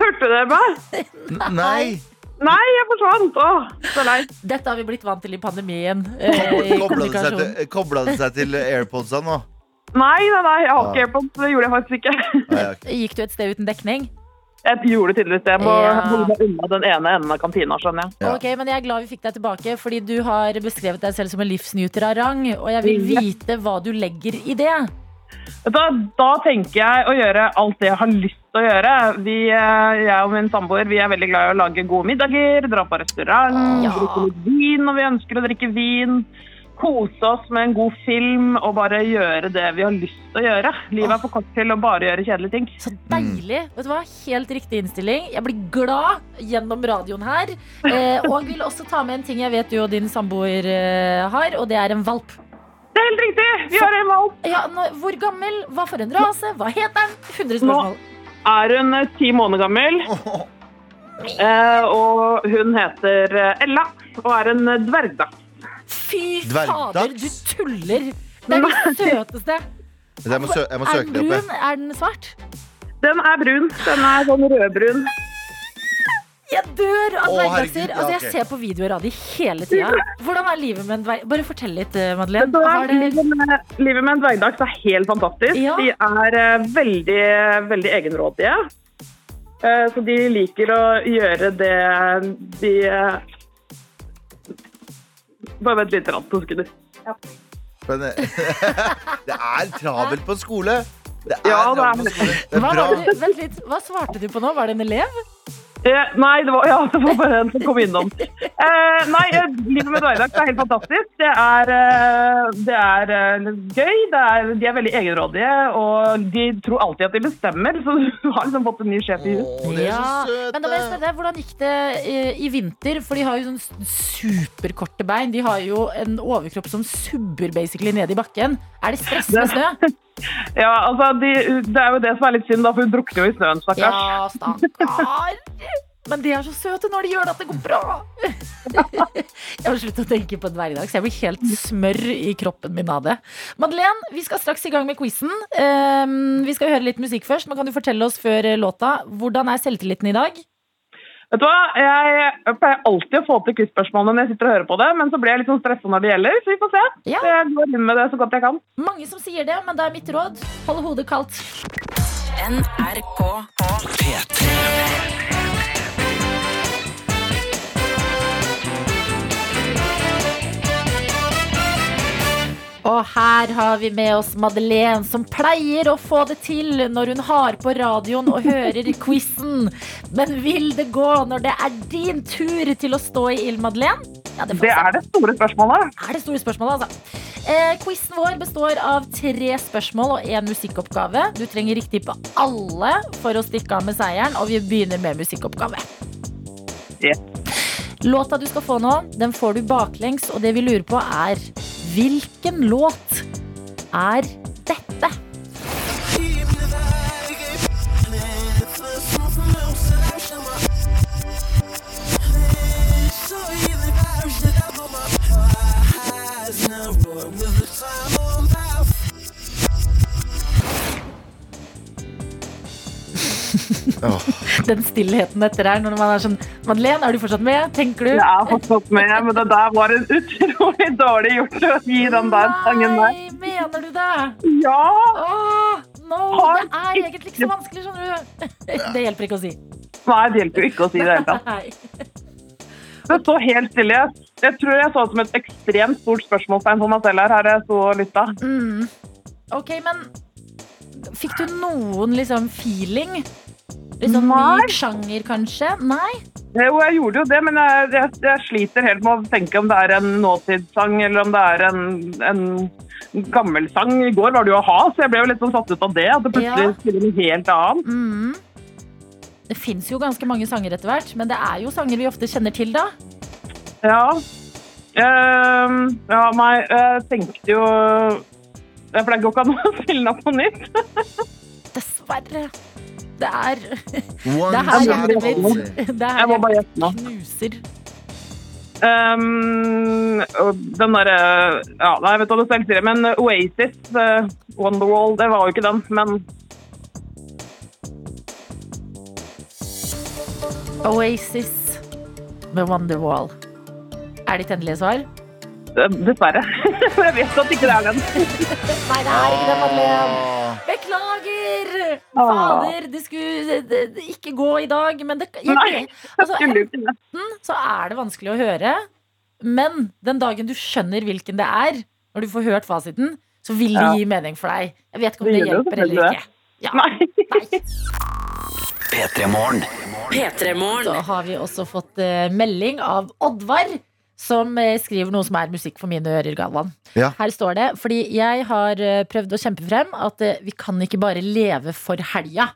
S7: Hørte dere meg?
S3: N- Nei.
S7: Nei, jeg forsvant. Åh, så lei.
S2: Dette har vi blitt vant til i pandemien. eh, i
S3: Kobla det seg
S2: kommunikasjon.
S3: til, kobla det seg til airpodsa nå?
S7: Nei, nei, nei, jeg har
S3: Ja.
S7: ikke airpods. Det gjorde jeg faktisk ikke.
S3: Nei, ok.
S2: Gikk du et sted uten dekning?
S7: Jeg gjorde det tydeligvis. Jeg må
S2: Ja.
S7: holde meg unna den ene enden av kantina, skjønner jeg.
S3: Ja.
S2: Ok, men Jeg er glad vi fikk deg tilbake, fordi du har beskrevet deg selv som en livsnyter av rang. Og jeg
S3: Mm.
S2: vil vite hva du legger i det.
S7: Vet du hva, da tenker jeg å gjøre alt det jeg har lyst til å gjøre. Vi, eh, jeg og min samboer vi er veldig glad i å lage gode middager, dra på restaurant,
S2: Ja.
S7: drikke litt vin når vi ønsker å drikke vin. Kose oss med en god film og bare gjøre det vi har lyst til å gjøre. Livet er for kort til å bare gjøre kjedelige ting.
S3: Mm.
S2: Så deilig! Vet du hva? Helt riktig innstilling. Jeg blir glad gjennom radioen her. Eh, og vil også ta med en ting jeg vet du og din samboer eh, har, og det er en valp.
S7: Det er helt riktig! Vi har en valp.
S2: Ja, nå, hvor gammel? Hva for en rase? Hva heter den? 100 spørsmål.
S7: Er hun eh, ti måneder gammel, eh, og hun heter eh, Ella og er en eh, dvergdags.
S2: Fy
S3: Dvergdags?
S2: fader, du tuller! Det er den søteste.
S3: Jeg må, sø jeg må
S2: Er
S3: søke
S2: den
S3: det opp.
S2: brun?
S3: jeg.
S2: Er den svart?
S7: Den er brun. Den er sånn rødbrun.
S2: Jeg dør av
S3: Å,
S2: dvergdasser.
S3: herregud, ja,
S2: Altså, jeg
S3: ok.
S2: ser på videoer av de hele tida. Hvordan er livet med en dverg? Bare fortell litt, eh, Madeleine.
S7: Så
S2: Har det...
S7: livet, med, livet med en dvergdags er helt fantastisk.
S2: Ja.
S7: De er eh, veldig, veldig egenrådige. Eh, Så de liker å gjøre det de eh, Bare vent litt, grann, to sekunder.
S3: Men, eh, det er travelt på en skole. Det er
S7: Ja, det er
S3: travelt på en skole. Det er
S2: Hva,
S3: bra.
S2: var det du... Vent litt. Hva svarte du på nå? Var det en elev?
S7: Eh, nei, det var, ja, det var bare en som kom innom. Eh, nei, eh, livet med dvergdags er helt fantastisk. Det er, eh, det er eh, gøy. Det er, de er veldig egenrådige, og de tror alltid at de bestemmer. Så du har liksom fått en ny sjef i hus.
S3: Å, de er så søte.
S2: Men da må jeg spørre deg, hvordan gikk det eh, i vinter? For de har jo sånn superkorte bein. De har jo en overkropp som subber basically ned i bakken. Er det stress med snø?
S7: Ja, altså, de, det er jo det som er litt synd, da, for hun drukner jo i snøen, stakkars.
S2: Ja, stakkar. Men de er så søte når de gjør det at det går bra. Jeg må slutte å tenke på dvergdags. Jeg blir helt smør i kroppen min av det. Madeleine, vi skal straks i gang med quizen. Ehm, Vi skal høre litt musikk først, men kan du fortelle oss før eh, låta hvordan er selvtilliten i dag?
S7: Vet du hva, jeg pleier alltid å få til quizspørsmålene når jeg sitter og hører på det, men så blir jeg litt sånn stressa når det gjelder, så vi får se.
S2: Ja.
S7: Jeg går inn med det så godt jeg kan.
S2: Mange som sier det, men da er mitt råd hold hodet kaldt.
S6: NRK
S1: P3.
S2: Og her har vi med oss Madeleine, som pleier å få det til når hun har på radioen og hører quizen. Men vil det gå når det er din tur til å stå i ild, Madeleine? Ja, får vi
S7: Det
S2: se.
S7: er det store spørsmålet.
S2: er det store spørsmålet, altså. Eh, quizen vår består av tre spørsmål og én musikkoppgave. Du trenger riktig på alle for å stikke av med seieren, og vi begynner med musikkoppgave. Låta du skal få nå, den får du baklengs, og det vi lurer på er hvilken låt er dette?
S3: Åh,
S2: Den stillheten etter her når man er sånn Madeleine, er du fortsatt med? Tenker du?
S7: Jeg er fortsatt med, men det der var en utrolig dårlig gjort å gi den der sangen der.
S2: Nei, mener du det?
S7: Ja!
S2: Åh, no,
S7: Har
S2: det er egentlig ikke så vanskelig, skjønner du. Det hjelper ikke å si.
S7: Nei, det hjelper jo ikke å si det i det hele tatt.
S2: Nei.
S7: Det så helt stille. Jeg- Jeg tror jeg så det som et ekstremt stort spørsmålstegn for meg selv sånn her, her jeg sto og lytta.
S2: Mm. Ok, men fikk du noen liksom feeling? Litt sånn
S7: Nei.
S2: ny sjanger, kanskje? Nei?
S7: Jo, jeg gjorde jo det, men jeg, jeg, jeg sliter helt med å tenke om det er en nåtidssang eller om det er en, en gammel sang. I går var det jo a-ha, så jeg ble jo litt sånn satt ut av det. At det
S2: Ja.
S7: plutselig spiller noe helt annet.
S2: Mm. Det fins jo ganske mange sanger etter hvert, men det er jo sanger vi ofte kjenner til, da.
S7: Ja. Ehm, ja, nei, jeg tenkte jo Ja, For det går ikke an å spille den opp på nytt.
S2: Dessverre. Det er
S3: One
S2: Det er her
S3: shot
S2: hjertet
S3: only.
S2: mitt Det er
S7: Jeg
S2: her
S7: må bare gjette nå.
S2: jeg knuser.
S7: Ehm, og den derre Ja, nei, jeg vet hva du selv sier, men Oasis, eh, Wonderwall, det var jo ikke den, men
S2: Oasis med Wonderwall. Er ditt endelige svar?
S7: eh, dessverre. jeg vet at ikke det er den.
S2: Nei, det er ikke det, Madeleine.
S3: Åh,
S2: Beklager!
S7: Åh.
S2: Fader, det skulle det- det- ikke gå i dag, men det
S7: Nei.
S2: jeg, altså,
S7: Skulle jo ikke det.
S2: Enten så er det vanskelig å høre, men den dagen du skjønner hvilken det er, når du får hørt fasiten, så vil det
S7: Ja.
S2: gi mening for deg. Jeg vet ikke om
S7: Det
S2: det,
S7: gjør det
S2: hjelper
S7: jo
S2: eller
S7: selvfølgelig.
S2: ikke. Ja.
S7: Nei.
S1: P3 Morgen.
S2: Så har vi også fått eh, melding av Oddvar. Som eh, skriver noe som er musikk for mine ører, Galvan.
S3: Ja.
S2: Her står det Fordi jeg har eh, prøvd å kjempe frem at eh, vi kan ikke bare leve for helga.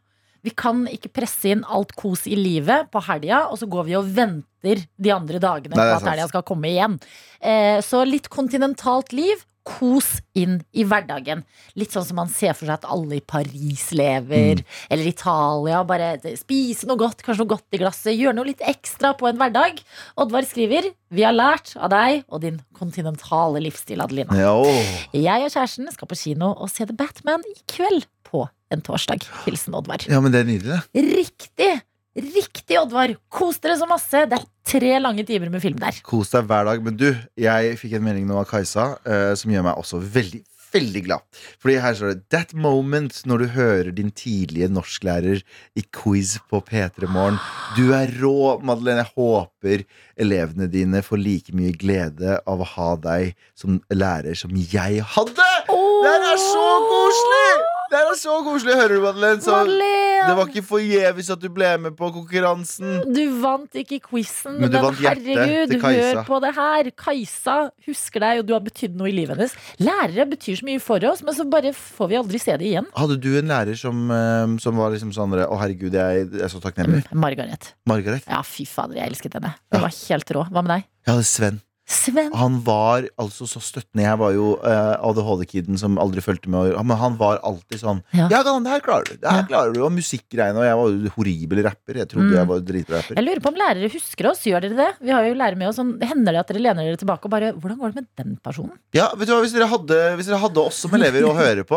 S2: Vi kan ikke presse inn alt kos i livet på helga, og så går vi og venter de andre dagene
S3: Nei,
S2: på
S3: det er
S2: at
S3: sant.
S2: helga skal komme igjen. Eh, Så litt kontinentalt liv. Kos inn i hverdagen. Litt sånn som man ser for seg at alle i Paris lever,
S3: Mm.
S2: eller Italia. Bare spise noe godt, kanskje noe godt i glasset. Gjøre noe litt ekstra på en hverdag. Oddvar skriver Vi har lært av deg og din kontinentale livsstil, Adelina.
S3: Ja, åh.
S2: Jeg og kjæresten skal på kino og se The Batman i kveld på en torsdag. Hilsen Oddvar.
S3: ja, men det er nydelig, det.
S2: Riktig! Riktig, Oddvar. Kos dere så masse. Det er tre lange timer med film der.
S3: Kos deg hver dag. Men du, jeg fikk en melding nå av Kajsa eh, som gjør meg også veldig, veldig glad. Fordi her står det That moment når du hører din tidlige norsklærer i quiz på P3 Morgen. Du er rå, Madeleine. Jeg håper elevene dine får like mye glede av å ha deg som lærer som jeg hadde. Det her er så koselig! Det her er så koselig, hører du, Madeleine. Så
S2: Madeleine!
S3: det var ikke forgjeves at du ble med på konkurransen.
S2: Du vant ikke quizen,
S3: Men
S2: men,
S3: du vant hjertet
S2: herregud,
S3: til Kajsa.
S2: hør på det her. Kajsa husker deg, og du har betydd noe i livet hennes. Lærere betyr så mye for oss, men så bare får vi aldri se det igjen.
S3: Hadde du en lærer som, eh, som var liksom sånn Å, herregud, jeg, jeg er så
S2: Mm.
S3: takknemlig.
S2: Margaret.
S3: Margaret?
S2: Ja, fy fader, jeg elsket henne. Hun var helt rå. Hva med deg?
S3: Jeg hadde Sven.
S2: Sven.
S3: Han var altså så støttende. Jeg var jo eh, ADHD-kiden som aldri fulgte med. og- Men han var alltid sånn
S2: Ja.
S3: Ja, Galvan, det her klarer du. Det her
S2: Ja.
S3: klarer du. Og musikkgreiene. Og jeg var jo horribel rapper. Jeg trodde
S2: Mm.
S3: jeg var dritbra rapper.
S2: Jeg lurer på om lærere husker oss. Gjør dere det? Vi har jo lærere med oss. Sånn, hender det at dere lener dere tilbake og bare Hvordan går det med den personen?
S3: Ja, vet du hva, Hvis dere hadde, hvis dere hadde oss som elever å høre på,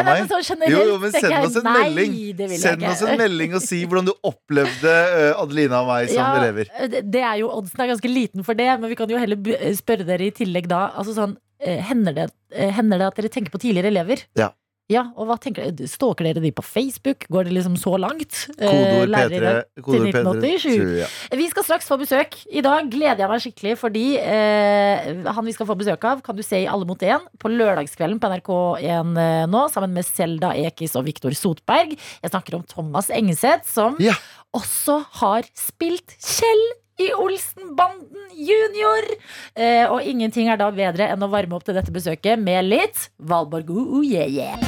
S2: Nei,
S3: og
S2: nei,
S3: meg
S2: men sånn generelt.
S3: jo, jo, men
S2: tenker
S3: send
S2: jeg,
S3: oss en
S2: nei,
S3: melding
S2: det vil jeg
S3: Send
S2: ikke.
S3: oss en melding og si hvordan du opplevde eh, Adelina og meg som
S2: Ja,
S3: elever.
S2: Eh, det- Det er jo, Oddsen er ganske liten for det, men vi kan jo heller bu- spørre dere i tillegg da. Altså sånn, eh, hender, det, eh, hender det at dere tenker på tidligere elever?
S3: Ja.
S2: Ja, og hva tenker dere? Stalker dere de på Facebook? Går det liksom så langt? Eh,
S3: Kodeord
S2: lærere i
S3: P3.
S2: dag?
S3: Kodeord P3.
S2: 1987.
S3: tror jeg.
S2: Vi skal straks få besøk. I dag gleder jeg meg skikkelig, fordi eh, han vi skal få besøk av, kan du se i Alle mot én på lørdagskvelden på NRK1 eh, nå, sammen med Selda Ekiz og Viktor Sotberg. Jeg snakker om Thomas Engeseth, som
S3: Ja.
S2: også har spilt Kjell. I Olsenbanden junior! Eh, og ingenting er da bedre enn å varme opp til dette besøket med litt Valborg ooh ooh, yeah yeah.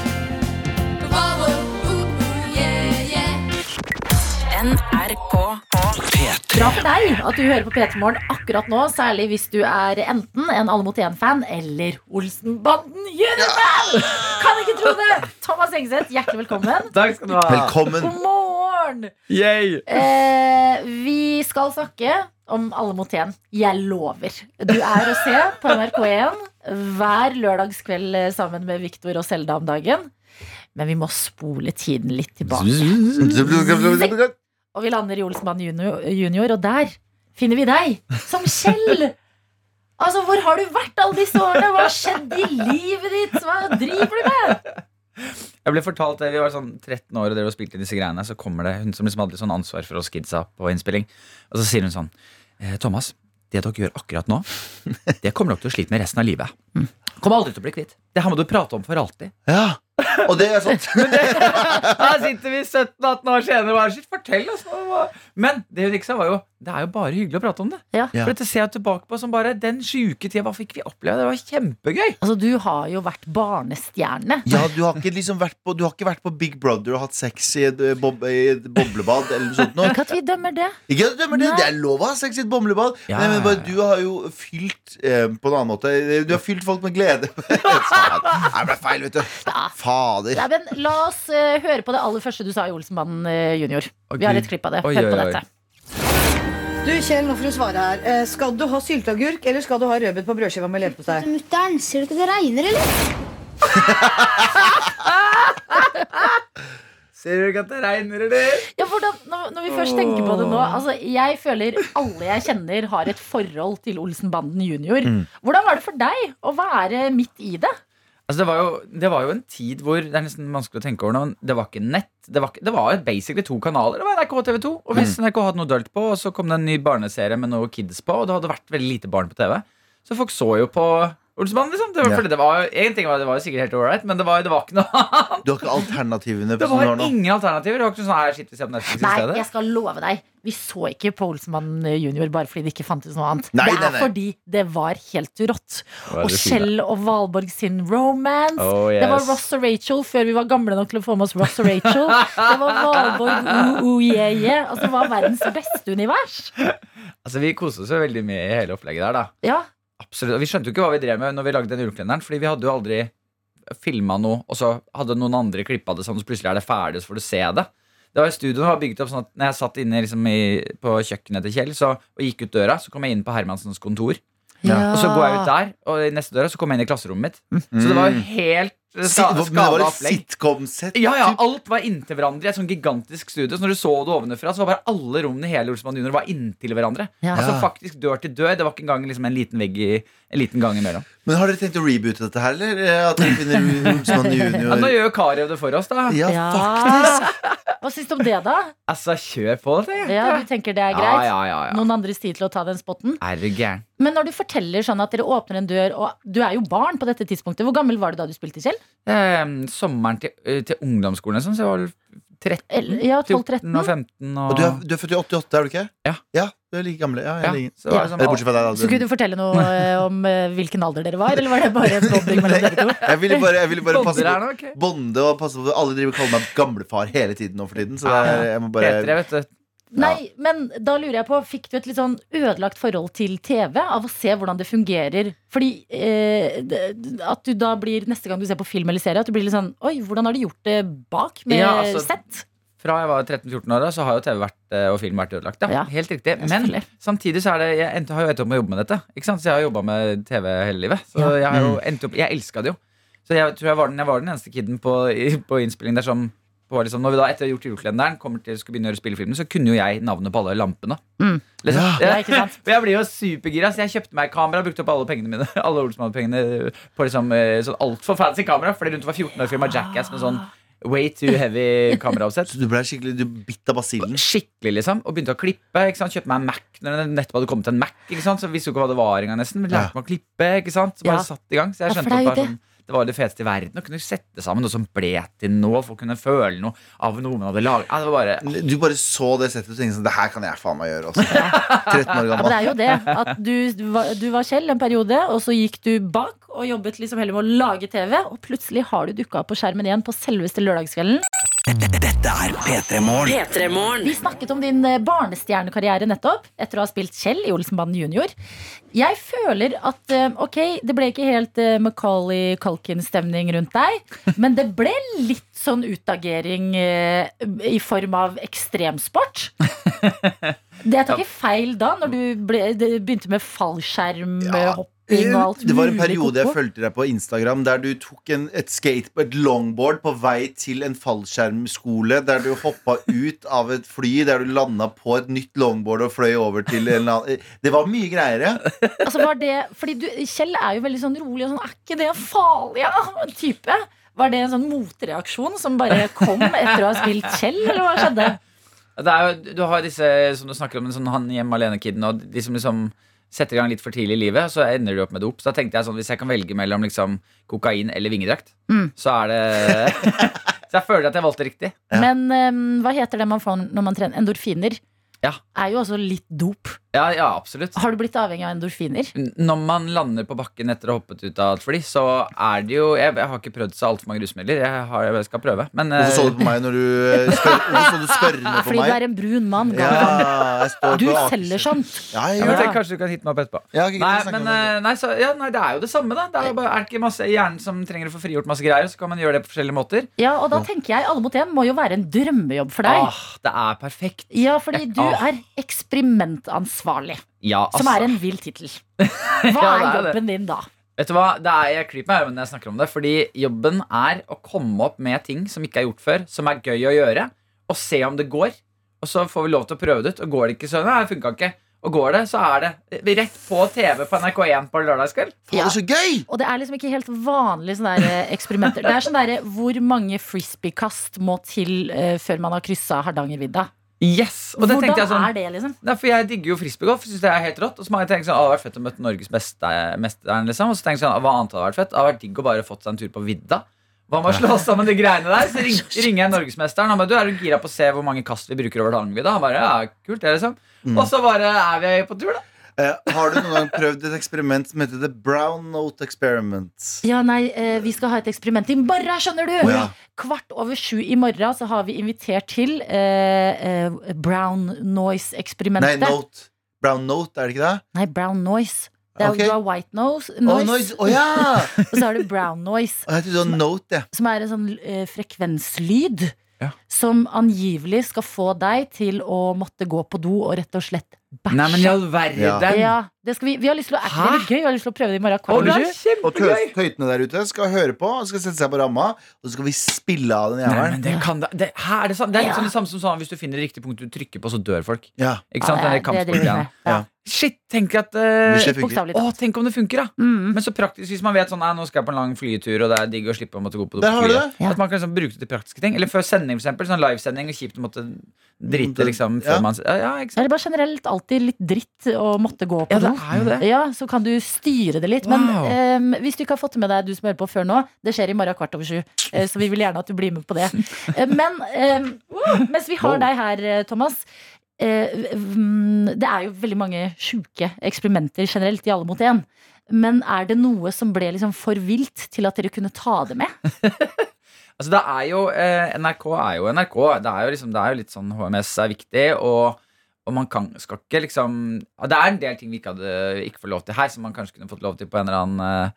S6: Bravo, ooh, ooh, yeah, yeah. NRK
S2: Bra
S1: P3.
S2: for deg at du hører på P3 Morgen akkurat nå, særlig hvis du er enten en Alle mot én-fan eller Olsenbanden Jørgen! Kan ikke tro det! Thomas Engseth, hjertelig velkommen.
S4: Takk skal du ha.
S3: Velkommen.
S2: God morgen!
S4: Yay.
S2: Eh, vi skal snakke om Alle mot én. Jeg lover. Du er å se på NRK1 hver lørdagskveld eh, sammen med Viktor og Selda om dagen. Men vi må spole tiden litt tilbake. Og vi lander i Olsenbanen junior, junior, og der finner vi deg som Kjell. Altså, Hvor har du vært alle disse årene? Hva har skjedd i livet ditt? Hva driver du med?
S8: Jeg ble fortalt det, Vi var sånn 13 år og dere spilte inn disse greiene. Så kommer det hun som liksom hadde litt sånn ansvar for oss kidsa på innspilling. Og så sier hun sånn eh, Thomas, det dere gjør akkurat nå, det kommer dere til å slite med resten av livet. Kommer aldri til å bli kvitt. Det her må du prate om for alltid.
S3: Ja. Og det er
S8: sånn-
S3: sant.
S8: Her sitter vi 17-18 år senere og bare shit, fortell oss nå. hva-" Men det hun ikke sa, var jo det er jo bare hyggelig å prate om det.
S2: Ja.
S3: Ja.
S8: For dette ser jeg tilbake på som bare den sjuke tida. Hva fikk vi oppleve? Det var kjempegøy.
S2: Altså, Du har jo vært barnestjerne.
S3: Ja, du har ikke liksom vært på, du har ikke vært på Big Brother og hatt sex i et, eh, bob, i et boblebad eller noe sånt. Noe.
S2: Ikke at vi dømmer det.
S3: Ikke at du dømmer det,
S2: Nei.
S3: det er lov å ha sex i et bomlebad.
S8: Ja,
S3: Nei, men bare,
S8: ja, ja.
S3: du har jo fylt eh, på en annen måte Du har fylt folk med glede. Faen. Nei, det ble feil, vet du. Fader.
S2: Nei, men La oss eh, høre på det aller første du sa i Olsenbanden eh, junior.
S8: Å,
S2: Vi har
S8: Gud.
S2: et klipp av det.
S8: Oi,
S2: Hør
S8: oi,
S2: på
S8: oi.
S2: dette.
S9: Du, Kjell, nå får du svare her. Eh, Skal du ha sylteagurk, eller skal du ha rødbet på brødskiva med leverpostei?
S10: Mutter'n, ser du ikke det regner, eller?
S8: Ser du ikke at det regner, eller?
S2: Ja, hvordan, når, når vi først tenker på det nå altså, Jeg føler alle jeg kjenner har et forhold til Olsenbanden junior. Hvordan var det for deg å være midt i det?
S8: Altså det, var jo, det var jo en tid hvor Det er nesten vanskelig å tenke over nå, men det var ikke nett. Det var, ikke- det var basically to kanaler. Det var NRK og TV 2. Og hvis NRK hadde noe dølt på, og så kom det en ny barneserie med noe kids på, og det hadde vært veldig lite barn på TV, så folk så jo på Olsmannen, liksom. Det var,
S3: Ja.
S8: fordi det var, en ting var, det var jo sikkert helt ålreit, men det var, det var ikke noe
S3: Du har ikke alternativene.
S8: Det
S3: som du har
S8: var
S3: nå.
S8: ingen alternativer. Det var ikke noe sånn her, shit, vi ser på Netflix i
S2: Nei,
S8: stedet.
S2: jeg skal love deg. Vi så ikke på Olsenmannen junior bare fordi det ikke fantes noe annet.
S3: Nei,
S2: det er
S3: nei, nei.
S2: fordi det var helt rått. Og
S8: det fint,
S2: Kjell og Valborg sin romance.
S8: Oh,
S2: Det var
S8: yes.
S2: Ross og Rachel før vi var gamle nok til å få med oss Ross og Rachel. Det var Valborg ooh, ooh, yeah, yeah. Altså, det var verdens beste univers.
S8: Altså, vi koste oss jo veldig mye i hele opplegget der, da.
S2: Ja,
S8: Absolutt. Og vi skjønte jo ikke hva vi drev med når vi lagde den julekalenderen, fordi vi hadde jo aldri filma noe, og så hadde noen andre klippa det sånn, så plutselig er det ferdig, så får du se det. Det var Studioet var bygget opp sånn at når jeg satt inne liksom i, på kjøkkenet til Kjell så, og gikk ut døra, så kom jeg inn på Hermansens kontor. Og så går jeg
S3: Ah.
S8: ut der, og i neste døra så kom jeg inn i klasserommet mitt. Så det var jo helt
S3: Mm. Si-
S8: ska-
S3: Men det var
S8: skada
S3: et
S8: opplegg.
S3: sitcom-sett.
S8: Ja, ja, alt var inntil hverandre i et sånn gigantisk studio. Så når du så det ovenfra, så var bare alle rommene i hele Olsmann Junior var inntil hverandre.
S2: Ja.
S8: Altså faktisk dør til dør. Det var ikke engang liksom, en liten vegg i, en liten gang imellom.
S3: Men har dere tenkt å reboote dette her, eller? Eh, At dere finner Olsmann
S8: Ja, nå
S3: junior?
S8: gjør jo Karev det for oss, da.
S3: Ja,
S2: Ja.
S3: faktisk.
S2: Hva syns du om det, da?
S8: Altså, kjør på, det.
S2: Ja, Du tenker det er
S8: ja,
S2: greit?
S8: ja, ja, ja.
S2: Noen andres tid til å ta den spotten?
S8: Er du gæren?
S2: Men når du forteller sånn at dere åpner en dør, og du er jo barn på dette tidspunktet, hvor gammel var du da du spilte selv?
S8: Ehm, sommeren til, eh, til ungdomsskolen, liksom, så jeg var vel 13,
S2: Eller- ja,
S8: 14 og
S2: 12-13.
S8: 15 og,
S3: Og du er, du er født i 88, er du ikke?
S8: Ah. Ja.
S3: ja du er like gamle. Ja, jeg
S8: ja,
S3: er like-
S8: så var det
S3: Eller
S8: sånn,
S3: Bortsett fra deg, da.
S2: Så kunne du fortelle noe eh, om eh, hvilken alder dere var, eller var det bare en bonding mellom dere to?
S3: Jeg ville bare, jeg ville bare passe
S8: Bonde
S3: på
S8: der nå, ok.
S3: Bonde og passe på Alle driver og kaller meg gamlefar hele tiden nå for tiden. Så det
S8: Ah, Ja,
S3: er,
S8: ja.
S3: jeg må
S8: Heter det,
S3: bare
S8: vet du.
S2: Nei, men da lurer jeg på, fikk du et litt sånn ødelagt forhold til TV av å se hvordan det fungerer? Fordi eh, det- at du da blir, neste gang du ser på film eller serie, at du blir litt sånn Oi, hvordan har de gjort det bak med
S8: Ja, altså,
S2: sett?
S8: Fra jeg var 13-14 år, da, så har jo TV vært, eh, og film vært ødelagt. Da.
S2: Ja.
S8: Helt riktig. Men
S2: selvfølgelig.
S8: samtidig så er det, jeg endte, har jo endt opp med å jobbe med dette. Ikke sant? Så jeg har jobba med TV hele livet. Så
S2: Ja.
S8: jeg har jo endt opp, jeg elska det jo. Så jeg tror jeg var den, jeg var den eneste kiden på, i- på innspilling der som på liksom, Når vi da etter å ha gjort julekalenderen kommer til skulle begynne å gjøre spillefilmen, så kunne jo jeg navnet på alle lampene.
S2: Mm.
S8: Liksom.
S2: Ja, ikke sant?
S8: For jeg blir jo supergira, så jeg kjøpte meg kamera, brukte opp alle pengene mine Alle Olsmann-pengene på liksom, eh, sånn altfor fancy kamera. Fordi rundt var 14 år filma Jackass med sånn way too heavy kameraoppsett.
S3: Så du ble skikkelig Du bitt av basillen.
S8: Skikkelig, liksom. Og begynte å klippe. ikke sant? Kjøpte meg en Mac når det nettopp hadde kommet en Mac. ikke sant? Så visste jo ikke hva det var engang, nesten. Men
S3: Ja.
S8: lærte meg å klippe. ikke sant? Så bare
S2: Ja.
S8: satt i gang. Så jeg
S2: Ja, for
S8: skjønte
S2: det er
S8: at
S2: jo
S8: bare sånn, det var det feteste i verden å kunne sette sammen noe som ble til noe, for å kunne føle noe av noe man hadde laget. Ja, det var bare...
S3: Du bare så det settet og tenkte sånn Det her kan jeg faen meg gjøre også. 13 år
S2: Ja, men det
S3: gammel.
S2: er jo det. At du, du var, du var Kjell en periode, og så gikk du bak og jobbet liksom heller med å lage TV, og plutselig har du dukka opp på skjermen igjen på selveste lørdagskvelden.
S1: Dette er P3 Morgen.
S2: Vi snakket om din eh, barnestjernekarriere nettopp, etter å ha spilt Kjell i Olsenbanden junior. Jeg føler at eh, ok, det ble ikke helt eh, Macaulay Culkin-stemning rundt deg, men det ble litt sånn utagering eh, i form av ekstremsport. Det jeg tar ikke feil da, når du ble, det begynte med fallskjermhopping og alt
S3: Det var en
S2: mulig
S3: periode jeg
S2: koko.
S3: fulgte deg på Instagram der du tok en, et skate på et longboard på vei til en fallskjermskole, der du hoppa ut av et fly, der du landa på et nytt longboard og fløy over til en eller annen Det var mye greier, ja.
S2: Altså var det, fordi du, Kjell er jo veldig sånn rolig og sånn, er ikke det en farlig ja, type? Var det en sånn motreaksjon som bare kom etter å ha spilt Kjell, eller hva skjedde?
S8: Det er jo, du har disse som du snakker om, en sånn han hjemme alene-kiden, og de som liksom setter i gang litt for tidlig i livet, så ender du opp med dop. Så da tenkte jeg sånn, hvis jeg kan velge mellom liksom kokain eller vingedrakt,
S2: Mm.
S8: så er det Så jeg føler at jeg valgte riktig.
S2: Men em, hva heter det man får når man trener? Endorfiner.
S8: Ja.
S2: Er jo også litt dop.
S8: Ja, ja, absolutt.
S2: Har du blitt avhengig av endorfiner?
S8: N- Når man lander på bakken etter å ha hoppet ut av et fly, så er det jo Jeg, jeg har ikke prøvd så altfor mange rusmidler. Jeg, har, jeg skal prøve. Men
S3: Hvorfor så
S8: eh,
S3: du på meg når du eh, spør, Hvorfor så du spørrende på
S2: Fordi du er
S3: meg?
S2: en brun mann.
S3: Ja,
S2: gammel.
S3: jeg står
S2: Du
S3: på Aker-
S2: selger sånn. sånt.
S3: Ja, jeg
S8: ja,
S3: gjør
S8: men
S3: det.
S8: tenk, Kanskje du kan hitte meg opp etterpå.
S3: Ja, ok,
S8: Nei,
S3: vi snakker om
S8: men,
S3: det.
S8: eh, nei, så, ja, nei, det er jo det samme, da. Det er, jo bare, er det ikke masse hjernen som trenger å få frigjort masse greier, så kan man gjøre det på forskjellige måter.
S2: Ja, og da tenker jeg Alle mot én må jo være en drømmejobb for deg.
S8: Ah, det er perfekt.
S2: Ja, fordi du
S8: Ah.
S2: er eksperimentansvarlig,
S8: Ja,
S2: som
S8: altså.
S2: er en vill tittel. Hva
S8: Ja,
S2: er
S8: det er det.
S2: jobben din da?
S8: Vet du hva, det er, Jeg klyper meg i øynene når jeg snakker om det, fordi jobben er å komme opp med ting som ikke er gjort før, som er gøy å gjøre, og se om det går. Og så får vi lov til å prøve det ut, og går det ikke så Nei, det funka ikke. Og går det, så er det rett på TV på NRK1 på lørdagskveld.
S3: Faen, det er så gøy!
S2: Og det er liksom ikke helt vanlige sånne der eh, eksperimenter. Det er sånn derre hvor mange frisbeekast må til eh, før man har kryssa Hardangervidda?
S8: Yes! Og det
S2: Hvordan
S8: tenkte jeg sånn
S2: er det, liksom?
S8: Nei, for Jeg digger jo frisbeegolf. Synes det er helt rått Og så må jeg tenke sånn, «Å, det hadde vært fett å møte Norges beste mesteren, liksom. Og så tenker jeg sånn, «Å, hva annet hadde vært fett? Det hadde vært digg å bare fått seg en tur på vidda. Hva med å slå sammen de greiene der? Så ring, ringer jeg norgesmesteren. Han bare, du er du gira på å se hvor mange kast vi bruker over Hardangervidda? Han bare, ja, kult det, liksom.
S2: Mm.
S8: Og så bare er vi på tur, da.
S3: Eh, har du noen gang prøvd et eksperiment som heter The Brown Note Experiment?
S2: Ja, nei, eh, vi skal ha et eksperiment i morgen, skjønner du!
S3: Å, ja.
S2: Kvart over sju i morgen så har vi invitert til eh, eh, Brown
S3: Nei,
S2: Noise-eksperimentet.
S3: Note. Brown Note, er det ikke det?
S2: Nei, Brown Noise. Det er
S3: Ok.
S2: jo du har white nose,
S3: Å,
S2: noise,
S3: noise. Å ja!
S2: og så har du brown noise,
S3: Å, Jeg trodde det var note, jeg.
S2: som er en sånn eh, frekvenslyd
S8: Ja.
S2: som angivelig skal få deg til å måtte gå på do og rett og slett bæsje.
S8: all
S3: verden.
S2: ja, det skal vi, vi har lyst til å er ikke det litt gøy, vi har lyst til å prøve det i morgen kvart
S8: Og det
S2: over
S8: er
S2: sju.
S3: Og
S8: kjempegøy.
S3: tøs- tøytene der ute skal høre på og skal sette seg på ramma, og så skal vi spille av den
S8: Nei,
S3: jævelen.
S8: men det kan da det, hæ, er det, sant? det er litt
S2: Ja.
S8: sånn det samme som sånn hvis du finner det riktige punktet du trykker på, så dør folk.
S3: Ja.
S8: Ikke sant?
S2: Ja,
S8: Den der
S2: det driver vi
S8: kampsportgreia.
S2: med. Ja.
S8: Shit, tenk at eh,
S3: Hvis det funker.
S2: Bokstavelig
S8: Å,
S2: talt.
S8: tenk om det funker, da.
S2: Mm.
S8: Men så praktisk hvis man vet sånn Nei, nå skal jeg på en lang flytur, og det er digg å slippe å måtte gå på do
S3: Der
S8: på
S3: har du
S8: flyet.
S2: det.
S8: At man kan liksom bruke det til praktiske ting. Eller før sending, for eksempel. Sånn livesending. og Kjipt å måtte drite,
S3: Det-
S8: liksom.
S3: ja.
S8: Før man Ja, ja, ikke sant.
S2: Eller bare generelt alltid litt dritt å måtte gå på
S8: Ja, det
S2: do.
S8: er jo det.
S2: Ja, så kan du styre det litt.
S8: Wow.
S2: Men em, hvis du ikke har fått det med deg, du som hører på før nå, det skjer i morgen kvart over sju. eh, så vi vil gjerne at du blir med på det. Eh, men em, mens vi har deg her, eh, Thomas. eh, mm, det er jo veldig mange sjuke eksperimenter generelt i Alle mot én. Men er det noe som ble liksom for vilt til at dere kunne ta det med?
S8: Altså, det er jo eh, NRK er jo NRK. Det er jo, liksom, det er jo litt sånn HMS er viktig, og, og man kan, skal ikke liksom ja, Det er en del ting vi ikke, hadde, ikke får lov til her, som man kanskje kunne fått lov til på en eller annen eh,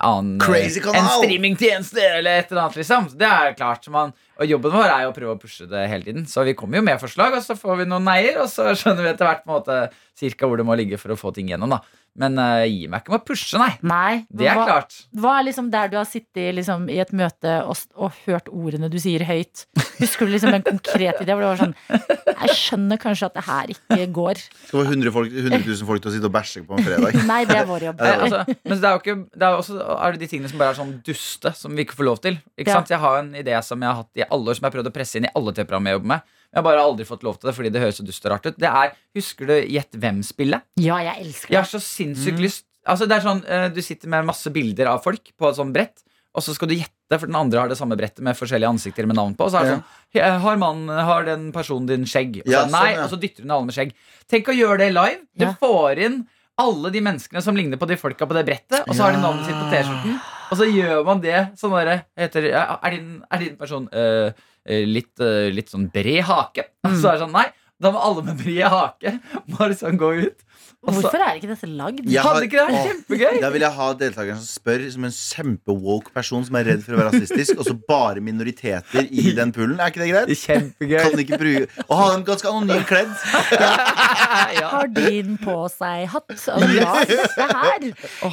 S8: annen,
S3: Crazy kanal!
S8: En streamingtjeneste eller et eller annet. liksom Det er klart så man, Og jobben vår er jo å prøve å pushe det hele tiden. Så vi kommer jo med forslag, og så får vi noen neier, og så skjønner vi etter hvert på en måte cirka hvor det må ligge for å få ting gjennom. da Men eh, gi meg ikke med å pushe, nei.
S2: Nei.
S8: Det er
S2: hva,
S8: klart.
S2: Hva er liksom der du har sittet liksom, i et møte og, s- og hørt ordene du sier høyt? Husker du liksom en konkret idé hvor det var sånn Jeg skjønner kanskje at det her ikke går.
S3: Skal få 100, folk, 100 000 folk til å sitte og bæsje på en fredag.
S2: Nei, det er vår jobb.
S8: Eh, altså, men det er jo ikke Det er jo også er det de tingene som bare er sånn duste, som vi ikke får lov til. Ikke
S2: Ja.
S8: sant? Jeg har en idé som jeg har hatt i alle år, som jeg har prøvd å presse inn i alle TV-program jeg jobber med. Men jeg har bare aldri fått lov til det fordi det høres så dust og rart ut. Det er Husker du Gjett hvem-spillet?
S2: Ja, jeg elsker det.
S8: Jeg har så
S3: Mm.
S8: sinnssykt lyst Altså det er sånn eh, Du sitter med masse bilder av folk på et sånt brett, og så skal du gjette, for den andre har det samme brettet med forskjellige ansikter med navn på. Og så er det
S3: Ja.
S8: sånn «Eh, Har mannen Har den personen din skjegg? Og så,
S3: Ja,
S8: er det nei,
S3: sånn, ja.
S8: og så dytter hun alle med skjegg. Tenk å gjøre det live. Du
S2: Ja.
S8: får inn alle de menneskene som ligner på de folka på det brettet, og så har de
S3: Ja.
S8: navnet sitt på T-skjorten. Og så gjør man det sånn derre heter det, Er din, er din person eh, eh, litt, eh, litt sånn bred hake. Så er det sånn, nei, da må alle med bred hake bare sånn gå ut. Og så-
S2: Hvorfor er ikke dette lagd?
S3: Jeg har-
S8: Hadde ikke det vært
S3: Åh,
S8: kjempegøy?
S3: Da vil jeg ha deltakeren som spør som en kjempewoke person som er redd for å være rasistisk, og så bare minoriteter i den poolen. Er ikke det greit?
S8: Kjempegøy.
S3: Kan ikke bruke Og ha en ganske anonym kledd.
S8: Ja.
S2: Har din på seg hatt? Og ja, se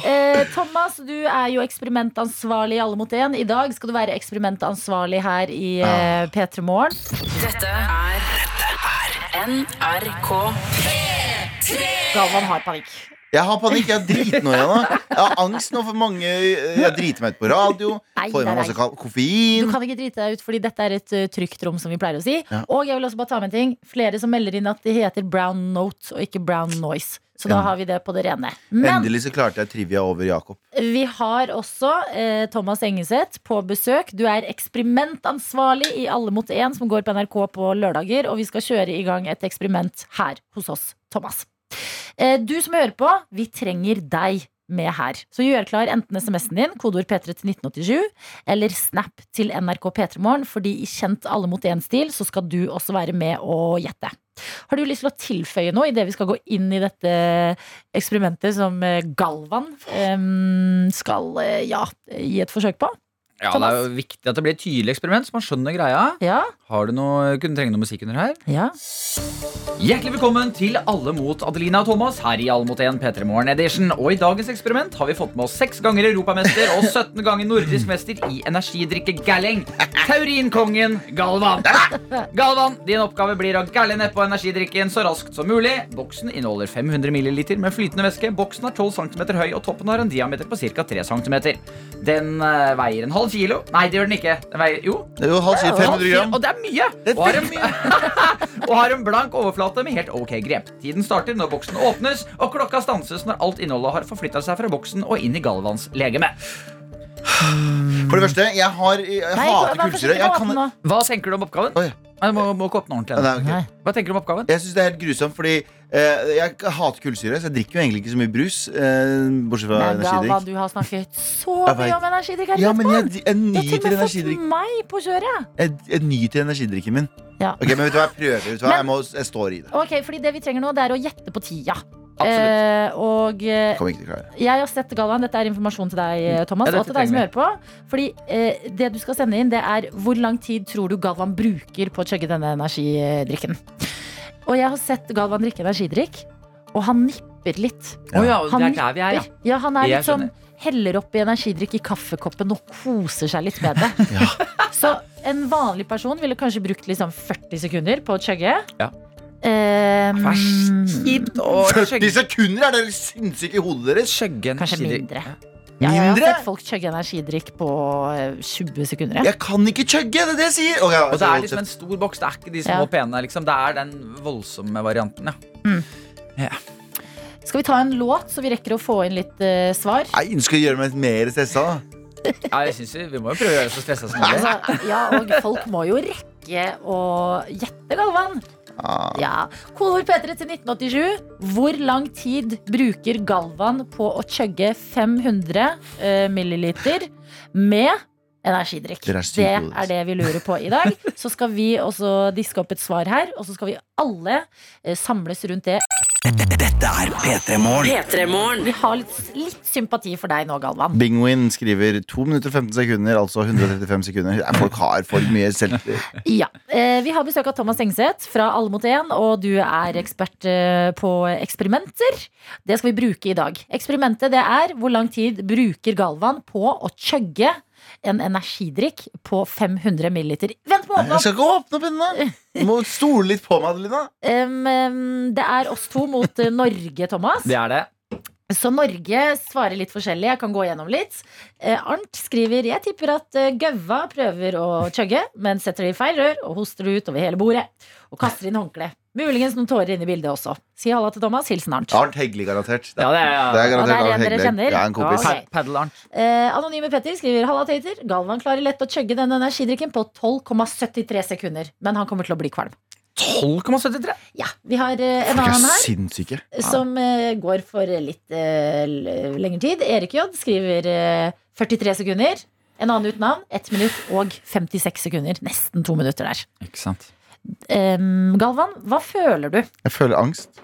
S2: her. Eh, Thomas, du er jo eksperimentansvarlig i Alle mot én. I dag skal du være eksperimentansvarlig her i
S3: Ah.
S2: eh, P3 Morgen.
S6: Dette er NRK.
S2: Galvan har panikk.
S3: Jeg har panikk. Jeg er dritnoia nå. Jeg har angst nå for mange eh, Jeg driter meg ut på radio.
S2: Nei,
S3: Får i
S2: nei,
S3: meg masse
S2: nei.
S3: ka-
S2: Du
S3: koffein.
S2: kan ikke drite deg ut, fordi dette er et eh, trygt rom, som vi pleier å si.
S3: Ja.
S2: Og jeg vil også bare ta med en ting. Flere som melder inn at det heter brown note og ikke brown noise. Så da
S3: Ja.
S2: har vi det på det rene. Men
S3: Endelig så klarte jeg trivia over Jakob.
S2: vi har også eh, Thomas Engeseth på besøk. Du er eksperimentansvarlig i Alle mot én, som går på NRK på lørdager. Og vi skal kjøre i gang et eksperiment her hos oss, Thomas. Eh, du som hører på, vi trenger deg med her. Så gjør klar enten SMS-en din, kodeord P3 til 1987, eller Snap til NRK P3morgen, fordi i kjent Alle mot én-stil så skal du også være med og gjette. Har du lyst til å tilføye noe idet vi skal gå inn i dette eksperimentet som eh, Galvan eh, skal eh, ja, gi et forsøk på?
S8: Ja, det er jo viktig at det blir et tydelig eksperiment, så man skjønner greia.
S2: Ja.
S8: Har du noe, kunne trenge noe musikk under her?
S2: ja.
S8: Hjertelig velkommen til Alle mot Adelina og Thomas her i Alle mot 1 P3 Morgen Edition. Og i dagens eksperiment har vi fått med oss seks ganger europamester og 17 ganger nordisk mester i energidrikke Galling. Taurinkongen Galvan. Galvan, din oppgave blir å galle nedpå energidrikken så raskt som mulig. Boksen inneholder 500 ml med flytende væske. Boksen er 12 cm høy, og toppen har en diameter på ca. 3 cm. Den eh, veier en halv kilo. Nei, det gjør den ikke. Den veier, jo,
S3: Det er jo halv side 500 gram.
S8: og det er mye! Og har, en, og har en blank overflate med helt ok grep. Tiden starter når boksen åpnes, og klokka stanses når alt innholdet har forflytta seg fra boksen og inn i Galvans legeme.
S3: For det første, jeg har Jeg
S2: Nei,
S3: hater
S2: vær forsiktig
S3: kullsyre. Jeg
S2: med
S3: kan
S2: åpne nå.
S8: Hva tenker du om oppgaven?
S3: Oi.
S8: Nei, Du må, må ikke åpne ordentlig.
S3: Nei,
S8: ennå.
S3: ok.
S2: Nei.
S8: Hva tenker du om oppgaven?
S3: Jeg synes det er helt grusomt, fordi eh, jeg hater kullsyre, så jeg drikker jo egentlig ikke så mye brus. eh, bortsett fra
S2: Men Galvan,
S3: energidrikk.
S2: du har snakket så
S3: Jeg
S2: mye
S3: vet.
S2: om energidrikk. her i
S3: Ja,
S2: P3
S3: men
S2: Morgen.
S3: jeg, jeg
S2: Du har
S3: nyter
S2: til og med
S3: energidrikk.
S2: fått meg på kjøret. ja.
S3: Jeg, jeg nyter energidrikken min.
S2: Ja.
S3: Ok, Men vet du hva, jeg prøver. Vet du hva?
S2: Men-
S3: Jeg, må, jeg står i det.
S2: Ok, fordi Det vi trenger nå, det er å gjette på tida.
S8: Absolutt.
S2: Eh, og eh,
S3: Kommer ikke til å klare det.
S2: jeg har sett Galvan, dette er informasjon til deg, eh, Thomas.
S8: Mm. Ja, dette
S2: og til deg som
S8: trenger
S2: hører på Fordi eh, Det du skal sende inn, det er hvor lang tid tror du Galvan bruker på å chugge denne energidrikken. Og jeg har sett Galvan drikke energidrikk, og han nipper litt.
S8: Å ja,
S2: Han
S8: det er der vi er, ja.
S2: Ja, han er
S8: Jeg
S2: litt sånn Heller oppi energidrikk i kaffekoppen og koser seg litt med det. Så en vanlig person ville kanskje brukt liksom 40 sekunder på å chugge.
S8: Ja.
S2: Ehm,
S8: Vær kjipt å
S3: 40 sekunder! Er dere sinnssyke i hodet deres?
S8: skjøgge
S2: Kanskje mindre. Ja, jeg har
S3: Mindre?
S2: sett folk chugge energidrikk på eh, 20 sekunder. ja.
S3: Jeg kan ikke chugge! Det er det jeg sier! Ok,
S8: Og det
S3: altså,
S8: er liksom en stor boks. Det er ikke de små
S2: Ja.
S8: pene. Liksom. Det er den voldsomme varianten, ja.
S2: Skal vi ta en låt, så vi rekker å få inn litt eh, svar?
S3: Nei, du skal gjøre meg mer stressa. da.
S8: ja jeg synes vi, vi må jo prøve å gjøre det så stressa som mulig.
S2: Altså, ja, og folk må jo rekke å gjette, Galvan.
S3: Ah.
S2: Ja. Kodord P3 til 1987. Hvor lang tid bruker Galvan på å chugge 500 eh, milliliter med energidrikk?
S3: Dere er syke
S2: det
S3: hodet.
S2: er det vi lurer på i dag. Så skal vi også diske opp et svar her, og så skal vi alle eh, samles rundt det.
S1: Dette er P3 Morgen.
S6: P3morgen.
S2: Vi har litt, litt sympati for deg nå, Galvan.
S3: Bingwin skriver 2 minutter og 15 sekunder, altså 135 sekunder. Nei, Folk har for mye selvtillit.
S2: Ja. Eh, vi har besøk av Thomas Engseth fra Alle mot én, og du er ekspert eh, på eksperimenter. Det skal vi bruke i dag. Eksperimentet det er hvor lang tid bruker Galvan på å chugge en energidrikk på 500 milliliter. Vent på
S3: Jeg
S2: åpne opp!
S3: skal ikke åpne opp ennå! Du må stole litt på meg, Adelina.
S2: Em, em, det er oss to mot eh, Norge, Thomas.
S8: Det er det.
S2: Så Norge svarer litt forskjellig. Jeg kan gå gjennom litt. Eh, Arnt skriver Jeg tipper at eh, Gaua prøver å chugge, men setter det i feil rør og hoster det ut over hele bordet. Og kaster inn håndkle. Muligens noen tårer inne i bildet også. Si halla til Thomas. Hilsen Arnt.
S3: Arnt Hegli, garantert.
S8: Ja, det
S3: Det
S8: er,
S3: er
S2: Ja, det
S3: garantert
S2: er
S3: Arnt
S2: en dere
S3: Hegli.
S2: kjenner.
S3: Ja, en kompis.
S2: Ja,
S8: Pa- Paddle-arn.
S2: Eh, anonyme Petter skriver Halla, Tøyter. Galvan klarer lett å chugge denne energidrikken på 12,73 sekunder. Men han kommer til å bli kvalm.
S8: 12,73.
S2: Ja, Vi har eh, en
S3: Folk er
S2: annen her.
S3: sinnssyke.
S2: Som eh, går for litt eh, l- lengre tid. Erik J skriver eh, 43 sekunder. En annen uten navn. 1 minutt og 56 sekunder. Nesten to minutter der.
S8: Ikke sant?
S2: Em, Galvan, hva føler du?
S3: Jeg føler angst.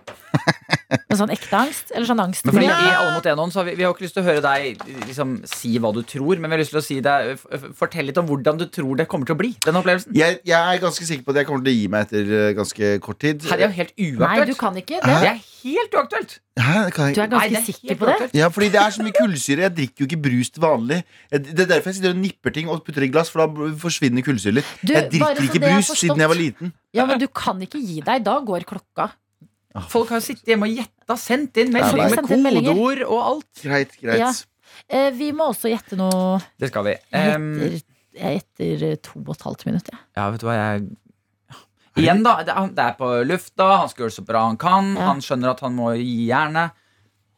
S2: En sånn ekte angst? Eller sånn angst?
S8: Men fordi i Alle mot én-ånd så har vi, vi har jo ikke lyst til å høre deg liksom, si hva du tror, men vi har lyst til å si deg f- f- Fortell litt om hvordan du tror det kommer til å bli. Den opplevelsen.
S3: Jeg, jeg er ganske sikker på at jeg kommer til å gi meg etter eh, ganske kort tid.
S8: Her er jo helt
S2: Nei,
S8: uaktuelt.
S2: du kan ikke
S8: Det
S2: det.
S8: er helt uaktuelt.
S3: Hæ, det kan
S2: Du er
S3: jeg...
S8: Nei, det
S2: ganske
S8: er
S2: sikker
S8: helt
S2: på det.
S8: uaktuelt.
S3: Ja, fordi det er så mye kullsyre. Jeg drikker jo ikke brus til vanlig. Jeg- Det er derfor jeg sitter og nipper ting og putter i glass, for da b- forsvinner kullsyret litt.
S2: Du,
S3: Jeg
S2: bare
S3: drikker
S2: så
S3: ikke
S2: det er
S3: brus
S2: forstått.
S3: siden jeg var liten.
S2: Ja, men du kan ikke gi deg. Da går klokka.
S8: Folk har jo sittet hjemme og gjetta, sendt inn
S2: Ja,
S8: meldinger
S2: nei.
S8: med
S2: Sendt inn meldinger.
S8: kodeord og alt.
S3: Greit, greit.
S2: Ja. Eh, Vi må også gjette noe
S8: Det skal vi. Ehm,
S2: etter, jeg gjetter eh, to og et halvt minutt. Ja.
S8: Ja, vet du hva, jeg Igjen, da. Det er, det er på lufta, han skal gjøre det så bra han kan.
S2: Ja.
S8: Han skjønner at han må gi jernet.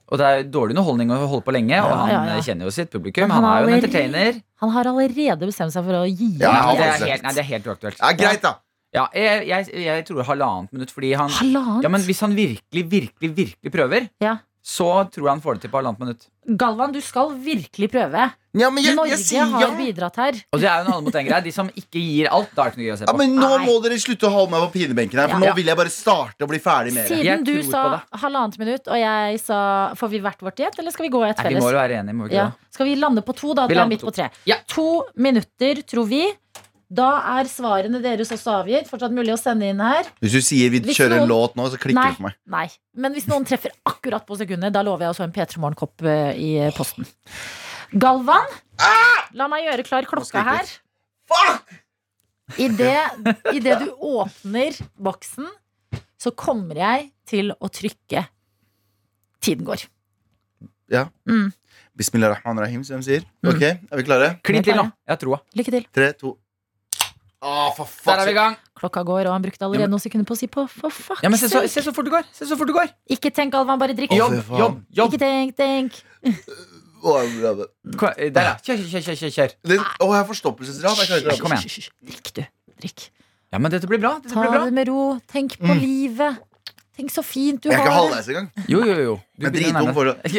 S8: Og det er dårlig underholdning å holde på lenge, og
S2: Ja,
S8: han
S2: ja, ja.
S8: eh, kjenner jo sitt publikum.
S2: Men han
S8: Han, er jo en
S2: allerede-
S8: entertainer.
S2: Han har allerede bestemt seg for å gi
S3: Ja,
S8: Nei,
S2: opp.
S8: det,
S3: han
S8: er
S3: har
S8: helt, nei, det er helt uaktuelt.
S3: Ja, greit, da.
S8: Ja, jeg, jeg, jeg tror halvannet minutt, fordi han
S2: Halvannet?
S8: ja, men Hvis han virkelig, virkelig, virkelig prøver,
S2: Ja.
S8: så tror jeg han får det til på halvannet minutt.
S2: Galvan, du skal virkelig prøve.
S3: Ja, men jeg,
S2: Norge
S3: jeg sier ja.
S2: har bidratt her.
S8: Og det er jo en alle mot en greie. De som ikke gir alt, da er det ikke noe gøy å se
S3: ja.
S8: på.
S3: Men nå
S2: Nei.
S3: må dere slutte å holde meg på pinebenken her,
S2: Ja.
S3: for nå
S8: Ja.
S3: vil jeg bare starte og bli ferdig med det.
S2: Siden
S8: Jeg
S2: du
S8: tror
S2: sa
S8: på det.
S2: halvannet minutt, og jeg sa Får vi hvert vårt gjett, eller skal vi gå i et
S8: Nei, vi må
S2: felles?
S8: jo være enige, må vi ikke
S2: Ja. Skal vi lande på to, da?
S8: Vi
S2: Det er
S8: lander
S2: midt
S8: på
S2: på tre.
S8: Ja.
S2: To minutter, tror vi. Da er svarene deres også avgitt. Fortsatt mulig å sende inn her.
S3: Hvis du sier vi
S2: Hvis
S3: kjører
S2: noen-
S3: en låt nå, så klikker
S2: Nei,
S3: det for meg.
S2: nei. Men hvis noen treffer akkurat på sekundet, da lover jeg også en P3 Morgen-kopp eh, i eh, posten. Galvan, la meg gjøre klar klokka
S3: skriker jeg.
S2: her. Idet i det du åpner boksen, så kommer jeg til å trykke. Tiden går.
S3: Bismillah rahman rahim, som de sier.
S8: Mm.
S3: Ok, er vi klare?
S8: da. Klin til nå. Jeg har troa.
S2: Lykke til.
S3: Tre, to Å, for
S8: Der er vi i
S3: fuck
S8: gang.
S2: Klokka går, og han brukte
S8: Ja,
S2: allerede
S8: men-
S2: noen sekunder på å si på for fuck
S8: Ja, men se så,
S2: sake.
S8: se så fort det går. Se så fort det går.
S2: Ikke tenk, Alvan, bare drikk.
S3: Å,
S8: Jobb,
S3: fy faen.
S8: jobb, jobb.
S2: Ikke tenk, tenk.
S8: Kom, eh, Der, ja. Kjør, kjør, kjør, kjør, kjør.
S3: Det- Å, jeg har forstoppelsesdrap. Jeg klarer ikke
S8: Kom
S3: det.
S8: igjen.
S2: Hysj, hysj, hysj. Drikk, du. Drikk.
S8: Ja, men dette blir bra. Dette
S2: Ta
S8: blir bra.
S2: det med ro. Tenk på livet. Tenk så fint du
S3: Jeg Mm. er ikke
S2: har det.
S3: halvveis engang.
S8: Jo, jo, jo. Du
S3: Jeg er
S8: begynner
S3: dritdum
S8: å nærme
S3: fortsatt.
S8: deg.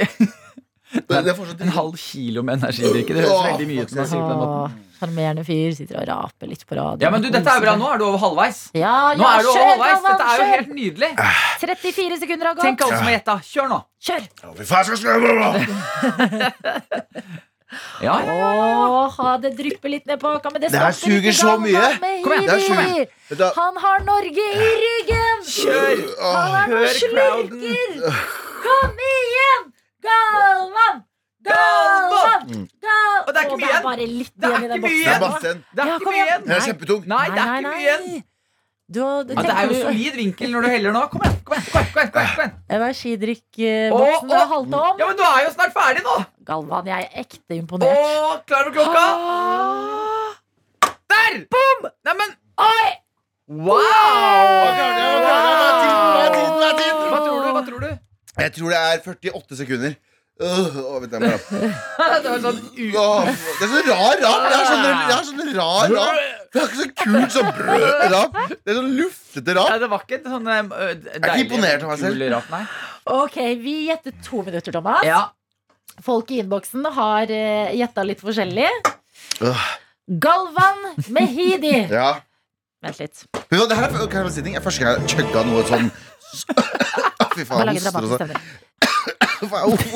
S3: Det er fortsatt
S8: En halv kilo med energidrikke. Det
S3: Åh,
S8: høres veldig mye ut. når jeg sier det på den måten.
S2: Åh, Sjarmerende fyr. Sitter og raper litt på radioen.
S8: Ja, men du, dette er bra. Nå er du over halvveis.
S2: Ja,
S8: Nå
S2: ja,
S8: er du over
S2: kjør,
S8: halvveis.
S2: Galvan,
S8: Dette er jo
S2: kjør.
S8: helt nydelig.
S2: 34 sekunder har
S8: Tenk
S2: gått.
S8: alle som har gjetta. Kjør nå.
S2: Kjør.
S3: Å, fy faen, jeg skal skrive!
S8: Ja, ja.
S2: Åh, det drypper litt ned på haka, men det
S3: Det her
S2: stopper ikke
S3: suger så
S2: Galvan
S3: mye.
S2: med
S8: Kom
S3: det
S8: igjen,
S3: her
S2: Heidi.
S3: suger. Vet du hva?
S2: Han har Norge i ryggen!
S8: Kjør.
S2: Han er noen
S8: Hør crowden.
S2: slurker! Kom igjen! Galvan! Galvan!
S8: Galvan!
S2: Gal-
S8: Og det er ikke
S2: Åh,
S8: mye igjen.
S2: bare litt
S8: Det er
S2: igjen i den
S8: ikke mye
S3: Mm. Det er
S2: boksen.
S3: masse igjen.
S8: Det
S2: Ja,
S8: er ikke
S2: kom
S8: mye
S2: igjen.
S3: Den
S8: igjen.
S3: er kjempetung.
S8: Nei, det er ikke mye igjen.
S2: Du, du,
S8: Ja, det er
S2: tenker
S8: jo
S2: du-
S8: solid vinkel når du heller nå. Kom igjen, kom igjen, kom igjen, kom igjen, kom igjen. Kom igjen. Åh,
S2: Energidrikkboksen har
S8: åh.
S2: halta om.
S8: Ja, men du er jo snart ferdig nå.
S2: Galvan, jeg er ekte imponert.
S8: Åh, klar over klokka? Der! Boom! Neimen,
S2: Oi!
S8: wow! Hva tror du? Hva tror du?
S3: Jeg tror det er 48 sekunder. Øh, å, vent, jeg må rappe.
S8: Det var sånn u...
S3: Åh, det er sånn rar rap. Det er sånn, det er sånn rar rap. Det er ikke så kult sånn brød rap. Det er sånn luftete
S8: Nei,
S3: rap.
S8: det var ikke et sånn eh, deilig,
S3: imponert over meg selv.
S8: kul rap, nei.
S2: Ok, vi gjettet to minutter, Thomas.
S8: Ja.
S2: Folk i innboksen har eh, gjetta litt forskjellig.
S3: Øh,
S2: Galvan Mehidi.
S3: Ja.
S2: Vent litt.
S3: Vet du hva, det her er kan jeg bare si en ting? Det er første gang jeg chugga noe sånn Fy
S2: Bare
S3: faen,
S2: lage
S3: hoster og
S2: dramatisk
S3: sånn.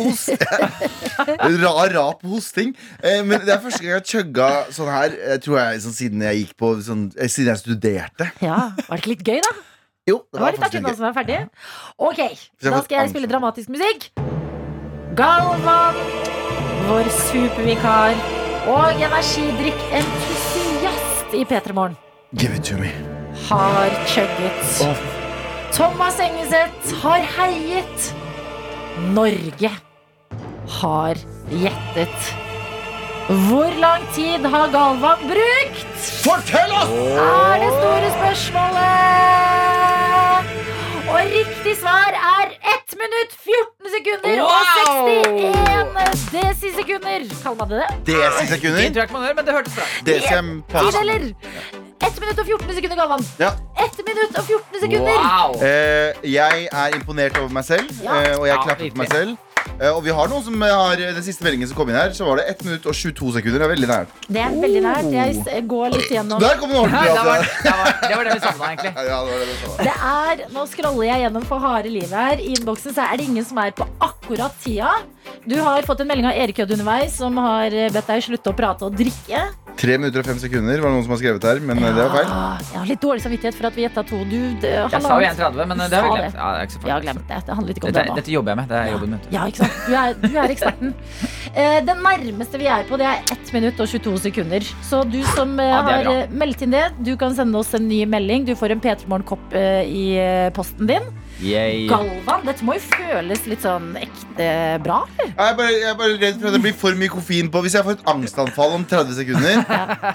S2: stemning.
S3: Rar rap og hosting. Eh, men det er første gang jeg chugga sånn her eh, tror jeg, sånn, siden jeg gikk på sånn, eh, Siden jeg studerte.
S2: Ja, Var det ikke litt gøy, da?
S3: Jo,
S2: Det var litt
S3: faktisk
S2: artig nå
S3: ikke-
S2: som er ferdig. Ok,
S3: jeg
S2: da
S3: får
S2: skal jeg
S3: angst.
S2: spille dramatisk musikk. Galvan, vår supervikar og energidrikkentusiast i P3 Morgen,
S3: Give it to me.
S2: har chugget.
S3: Åh.
S2: Thomas Engeseth har heiet. Norge har gjettet. Hvor lang tid har Galvan brukt?
S3: Fortell oss!
S2: er det store spørsmålet. Og riktig svar er 1 minutt 14 sekunder og 61 desisekunder. Kaller man det det?
S8: Det
S3: Decisekunder.
S8: tror jeg ikke man hører, men det hørtes bra ut.
S3: Desem.
S2: Tideler. 1 minutt og 14 sekunder, Galvan.
S3: Ja.
S2: 1 minutt og 14 sekunder.
S8: Wow!
S3: Eh, jeg er imponert over meg selv,
S2: Ja.
S3: eh, og jeg
S8: Ja,
S3: klapper for meg selv. Eh, Og vi har noen som har Den siste meldingen som kom inn her, så var det 1 minutt og 22 sekunder. Det er veldig nært.
S2: Det er veldig nært.
S3: Oh.
S2: Jeg s- går litt gjennom.
S3: Der kom den ordentlig.
S8: det, var,
S3: altså.
S8: det, var, det var det vi savna, egentlig.
S3: Ja, det var det vi sa.
S2: Det er, Nå scroller jeg gjennom for harde livet her. I innboksen så er det ingen som er på akkurat tida. Du har fått en melding av Erik Hødd underveis, som har eh, bedt deg slutte å prate og drikke.
S3: Tre minutter og fem sekunder var det noen som har skrevet her, men eh, det var feil.
S2: Ah, Jeg har litt dårlig samvittighet for at vi gjetta to. Du, det,
S8: Jeg sa jo 1,30, men eh,
S2: Du
S8: det
S2: sa
S8: har vi
S2: det.
S8: glemt. Ja, det er ikke så
S2: Jeg har
S8: farlig.
S2: glemt det. Det handlet ikke om
S8: Dette,
S2: det nå.
S8: dette jobber jeg med. Det er jobben min.
S2: Ja, ikke sant? Du er, du er eksperten. Eh, Den nærmeste vi er på, det er 1 minutt og 22 sekunder. Så du som eh,
S8: Ja, det er
S2: har eh, meldt inn det, du kan sende oss en ny melding. Du får en P3 Morgen-kopp eh, i eh, posten din.
S8: Yay.
S2: Galvan, dette må jo føles litt sånn ekte bra.
S3: Jeg er, bare, jeg er bare redd for at det blir for mye koffein på. Hvis jeg får et angstanfall om 30 sekunder,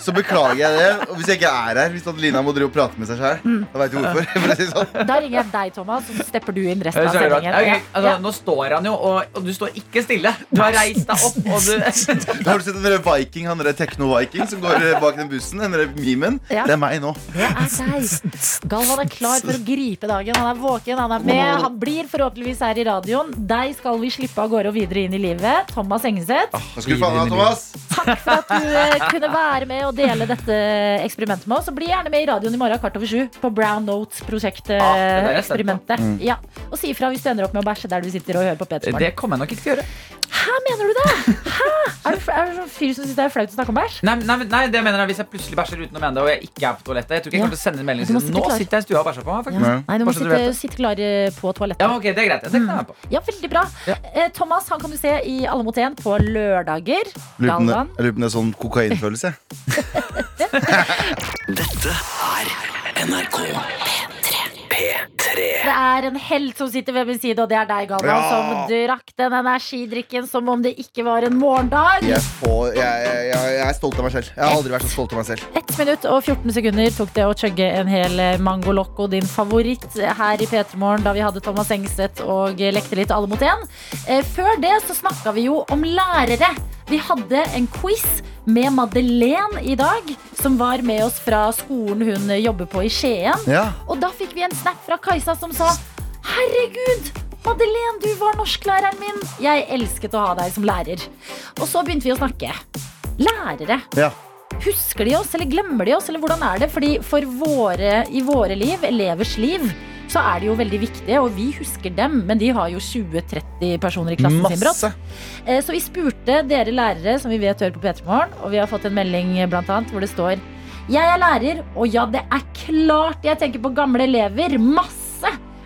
S3: så beklager jeg det. Og hvis jeg ikke er her, hvis Adelina må drive og prate med seg sjøl,
S8: Mm.
S3: da veit du hvorfor. For å si det sånn.
S2: Da ringer jeg deg, Thomas, og så stepper du inn resten
S8: Ja,
S2: av
S8: så er det bra.
S2: sendingen.
S8: Ok, altså,
S2: Ja.
S8: Nå står han jo, og, og du står ikke stille. Du har reist deg opp, og du
S3: Har du sett den der Viking, han derre Tekno-Viking som går eh, bak den bussen? Den derre memen?
S2: Ja.
S3: Det er meg nå.
S2: Det er deg. Galvan er klar for å gripe dagen. Han er våken, han er med. Han blir forhåpentligvis her i radioen. Deg skal vi slippe av gårde og videre inn i livet. Thomas Engeseth,
S3: Hva skulle du faen ha, Thomas?
S2: takk for at du eh, kunne være med og dele dette eksperimentet med oss. Og bli gjerne med i radioen i morgen kvart over sju på Brown
S8: Ah, det er jeg spent på. Mm.
S2: Notes-prosjektet. Ja, og si ifra hvis du ender opp med å bæsje der du sitter og hører på Peter
S8: Det
S2: Morgen.
S8: kommer jeg nok ikke til å gjøre.
S2: Hæ, mener du det? Hæ? Er du, er du sånn fyr som syns det er flaut å snakke om bæsj?
S8: Nei, nei, men- nei, det mener jeg Hvis jeg plutselig bæsjer uten å mene det, og jeg ikke er på toalettet Jeg tror ikke jeg
S2: Ja.
S8: kommer til å sende en melding
S2: Du må
S8: siden
S2: sitte
S8: Nå
S2: klar.
S8: sitter jeg i stua og bæsjer på meg. faktisk.
S2: Nei, du må
S8: Bare så du vet
S2: sitte, sitte klar eh, på toalettet.
S8: Ja, ok, Det er
S2: Mm.
S8: greit. Jeg tenker meg på
S2: Ja, veldig bra. Eh, Thomas han kan du se i Alle mot én på lørdager.
S3: Lurer på om det-
S2: Galvan.
S3: jeg lurer på om det er sånn kokainfølelse. jeg.
S1: Dette er NRK P3.
S2: Det er en helt som sitter ved min side, og det er deg, Galvan,
S3: Ja.
S2: som drakk den energidrikken som om det ikke var en morgendag.
S3: Jeg, får, jeg, jeg, jeg, jeg er stolt av meg selv. Jeg har aldri vært så stolt av meg selv.
S2: Ett minutt og 14 sekunder tok det å chugge en hel mango loco, din favoritt, her i P3 Morgen da vi hadde Thomas Engstedt og eh, lekte litt Alle mot én. Eh, Før det så snakka vi jo om lærere. Vi hadde en quiz med Madeleine i dag, som var med oss fra skolen hun jobber på i Skien.
S3: Ja.
S2: Og da fikk vi en snap fra Kajsa som sa Herregud, Madeleine, du var norsklæreren min. Jeg elsket å ha deg som lærer. Og så begynte vi å snakke. Lærere.
S3: Ja.
S2: Husker de oss, eller glemmer de oss, eller hvordan er det? Fordi for våre, i våre liv, elevers liv, så er de jo veldig viktige, og vi husker dem, men de har jo 20-30 personer i klassen sin brått.
S3: Masse.
S2: Eh, Så vi spurte dere lærere, som vi vet hører på P3 Morgen, og vi har fått en melding eh, blant annet, hvor det står Jeg er lærer, og ja, det er klart jeg tenker på gamle elever. Masse!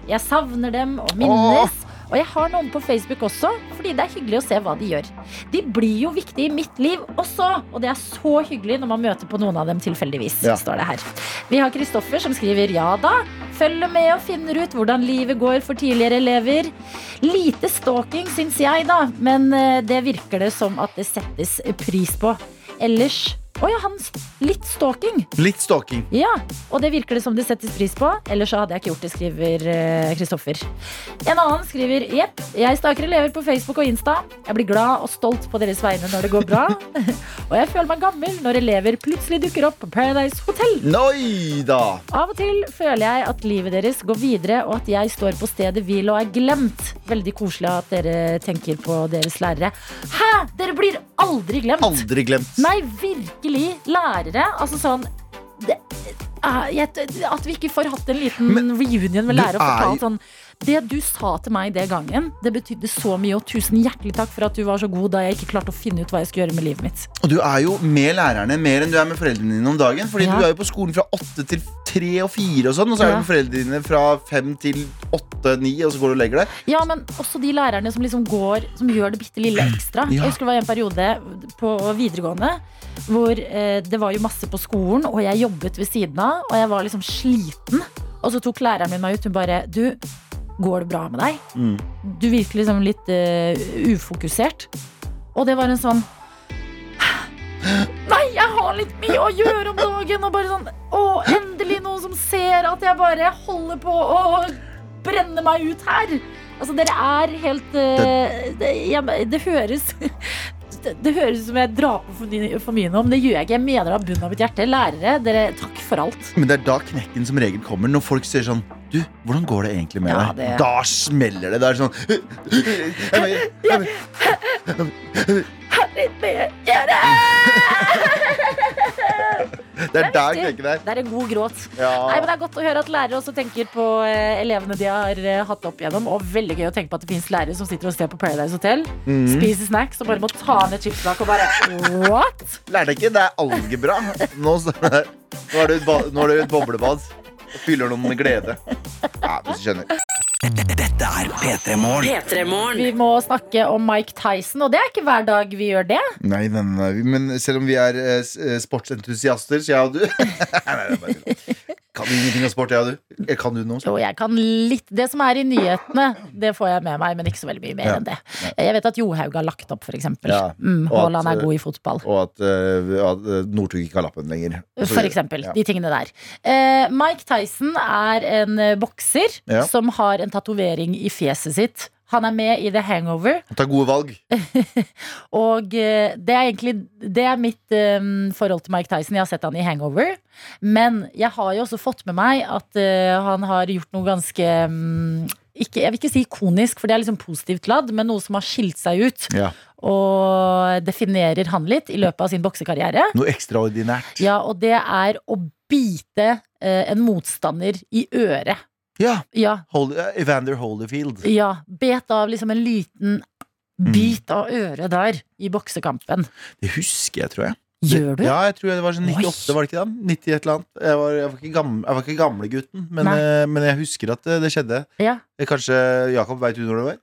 S2: Jeg savner dem og minnes. Og jeg har noen på Facebook også, fordi det er hyggelig å se hva de gjør. De blir jo viktige i mitt liv også, og det er så hyggelig når man møter på noen av dem tilfeldigvis.
S3: Ja.
S2: står det her. Vi har Kristoffer som skriver ja da. Følger med og finner ut hvordan livet går for tidligere elever. Lite stalking, syns jeg, da, men eh, det virker det som at det settes pris på. Ellers Å ja, han s- Litt stalking.
S3: Litt stalking.
S2: Ja, og det virker det som det settes pris på. Ellers så hadde jeg ikke gjort det, skriver eh, Kristoffer. En annen skriver Jepp, jeg staker elever på Facebook og Insta. Jeg blir glad og stolt på deres vegne når det går bra. og jeg føler meg gammel når elever plutselig dukker opp på Paradise Hotel.
S3: Noi da!
S2: Av og til føler jeg at livet deres går videre, og at jeg står på stedet hvil og er glemt. Veldig koselig at dere tenker på deres lærere. Hæ! Dere blir aldri glemt!
S3: Aldri glemt.
S2: Nei, virkelig. Lærere. Altså sånn det, eh, jeg, At vi ikke får hatt en liten reunion med
S3: du
S2: lærere og
S3: er-
S2: fortalt sånn Det du sa til meg den gangen, det betydde så mye, og tusen hjertelig takk for at du var så god da jeg ikke klarte å finne ut hva jeg skulle gjøre med livet mitt.
S3: Og du er jo med lærerne mer enn du er med foreldrene dine om dagen. Fordi
S2: Ja.
S3: du er jo på skolen fra åtte til tre og fire, og sånn Og så er
S2: Ja.
S3: du med foreldrene dine fra fem til åtte-ni, og så går du og legger deg.
S2: Ja, men også de lærerne som liksom går Som gjør det bitte lille ekstra.
S3: Ja.
S2: Jeg husker det var en periode på videregående hvor eh, det var jo masse på skolen, og jeg jobbet ved siden av, og jeg var liksom sliten. Og så tok læreren min meg ut. Hun bare Du, går det bra med deg?
S3: Mm.
S2: Du virker liksom litt eh, ufokusert. Og det var en sånn Nei, jeg har litt mye å gjøre om dagen! Og bare sånn Å, endelig noen som ser at jeg bare holder på å brenne meg ut her! Altså, dere er helt eh, det, jeg, det høres det, det høres ut som jeg drar på for, mye- for mye nå, men det gjør jeg ikke. Jeg mener det av bunnen av mitt hjerte. Lærere, dere, takk for alt.
S3: Men det er da knekken som regel kommer, når folk sier sånn Du, hvordan går det egentlig med
S2: Ja,
S3: deg?
S2: det-
S3: Da smeller det. Da er det sånn jeg mener,
S2: Litt mer. Gjør det!
S3: Det er der
S2: riktig.
S3: knekken er.
S2: Det er en god gråt. Nei, men
S3: Ja.
S2: Det er godt å høre at lærere også tenker på eh, elevene de har eh, hatt opp igjennom. Og veldig gøy å tenke på at det fins lærere som sitter og ser på Paradise Hotel,
S3: Mhm.
S2: spiser snacks og bare må ta ned chipslaket og bare What?
S3: Lærte jeg ikke? Det er algebra. Nå, står det her. nå er du et ba- nå er du et boblebad. Og fyller noen med glede. Ja, hvis du skjønner.
S1: Dette er P3 Morgen.
S2: Vi må snakke om Mike Tyson, og det er ikke hver dag vi gjør det.
S3: Nei, nei, nei, nei, men selv om vi er eh, s- eh, sportsentusiaster, så jeg og du Nei, nei, det er bare tull. Kan ingenting om sport, jeg og du. Eh, Kan du noe
S2: Jo,
S3: om sport?
S2: jeg kan litt Det som er i nyhetene, det får jeg med meg, men ikke så veldig mye mer
S3: Ja.
S2: enn det. Jeg vet at Johaug har lagt opp, for eksempel.
S3: Ja,
S2: Mm,
S3: og at,
S2: Haaland
S3: eh,
S2: er god i fotball.
S3: Og at, eh, at eh, Northug ikke har lappen lenger. Og så
S2: For
S3: videre.
S2: eksempel.
S3: Ja.
S2: De tingene der. Eh, Mike Tyson er en eh, bokser
S3: Ja.
S2: som har en tatovering i fjeset sitt. Han er med i The Hangover,
S3: Ta gode valg.
S2: og eh, det er egentlig Det er mitt eh, forhold til Mike Tyson. Jeg har sett han i Hangover. Men jeg har jo også fått med meg at eh, han har gjort noe ganske mm, ikke, Jeg vil ikke si ikonisk, for det er liksom positivt ladd, men noe som har skilt seg ut.
S3: Ja.
S2: Og definerer han litt i løpet av sin boksekarriere.
S3: Noe ekstraordinært.
S2: Ja, og det er å bite eh, en motstander i øret.
S3: Ja,
S2: Ja,
S3: Hol eh, Evander Holyfield.
S2: ja. Bet av liksom en liten
S3: Mm.
S2: bit av øret der i boksekampen.
S3: Det husker jeg, tror jeg.
S2: Gjør du?
S3: Ja, jeg tror det var sånn
S2: Oi.
S3: 98, var det ikke det? 90 et eller annet. Jeg var, jeg var ikke, gamle, jeg var ikke gamlegutten, men,
S2: Nei.
S3: eh, men jeg husker at det, det skjedde.
S2: Ja.
S3: Eh, Kanskje Jakob veit du når det var?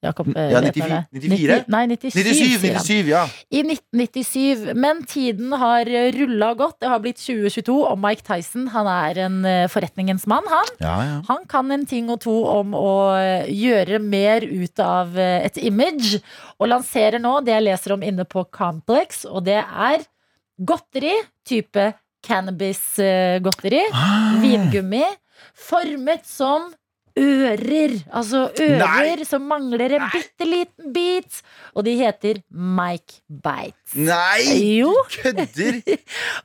S2: Jakob, eh,
S3: Ja,
S2: vet
S3: 94,
S2: jeg det.
S3: 94?
S2: Nitti- Nei, 97,
S3: 97!
S2: sier han.
S3: 97, ja.
S2: I 1997. Men tiden har rulla godt. Det har blitt 2022, og Mike Tyson han er en eh, forretningens mann, han.
S3: ja, ja.
S2: Han kan en ting og to om å eh, gjøre mer ut av eh, et image, og lanserer nå det jeg leser om inne på Complex, og det er godteri, type eh, cannabis-godteri, vingummi, formet som ører. Altså ører som mangler en bitte liten bit, og de heter Mike Bites.
S3: Nei!
S2: Jo.
S3: du Kødder!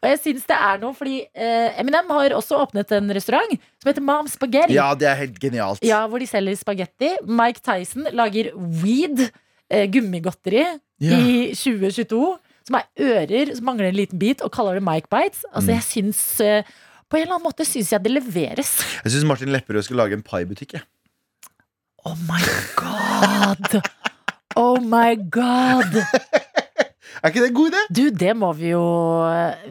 S2: Og jeg syns det er noe, fordi eh, Eminem har også åpnet en restaurant som heter Mom Spaghetti.
S3: Ja, det er helt genialt.
S2: Ja, hvor de selger spagetti. Mike Tyson lager weed, eh, gummigodteri,
S3: Ja.
S2: i 2022. Som er ører som mangler en liten bit, og kaller det Mike Bites. Altså,
S3: Mm.
S2: jeg syns eh, På en eller annen måte syns jeg det leveres.
S3: Jeg syns Martin Lepperød skulle lage en paibutikk. jeg.
S2: Oh my god! Oh my god!
S3: Er ikke det en god idé?
S2: Du, det må vi jo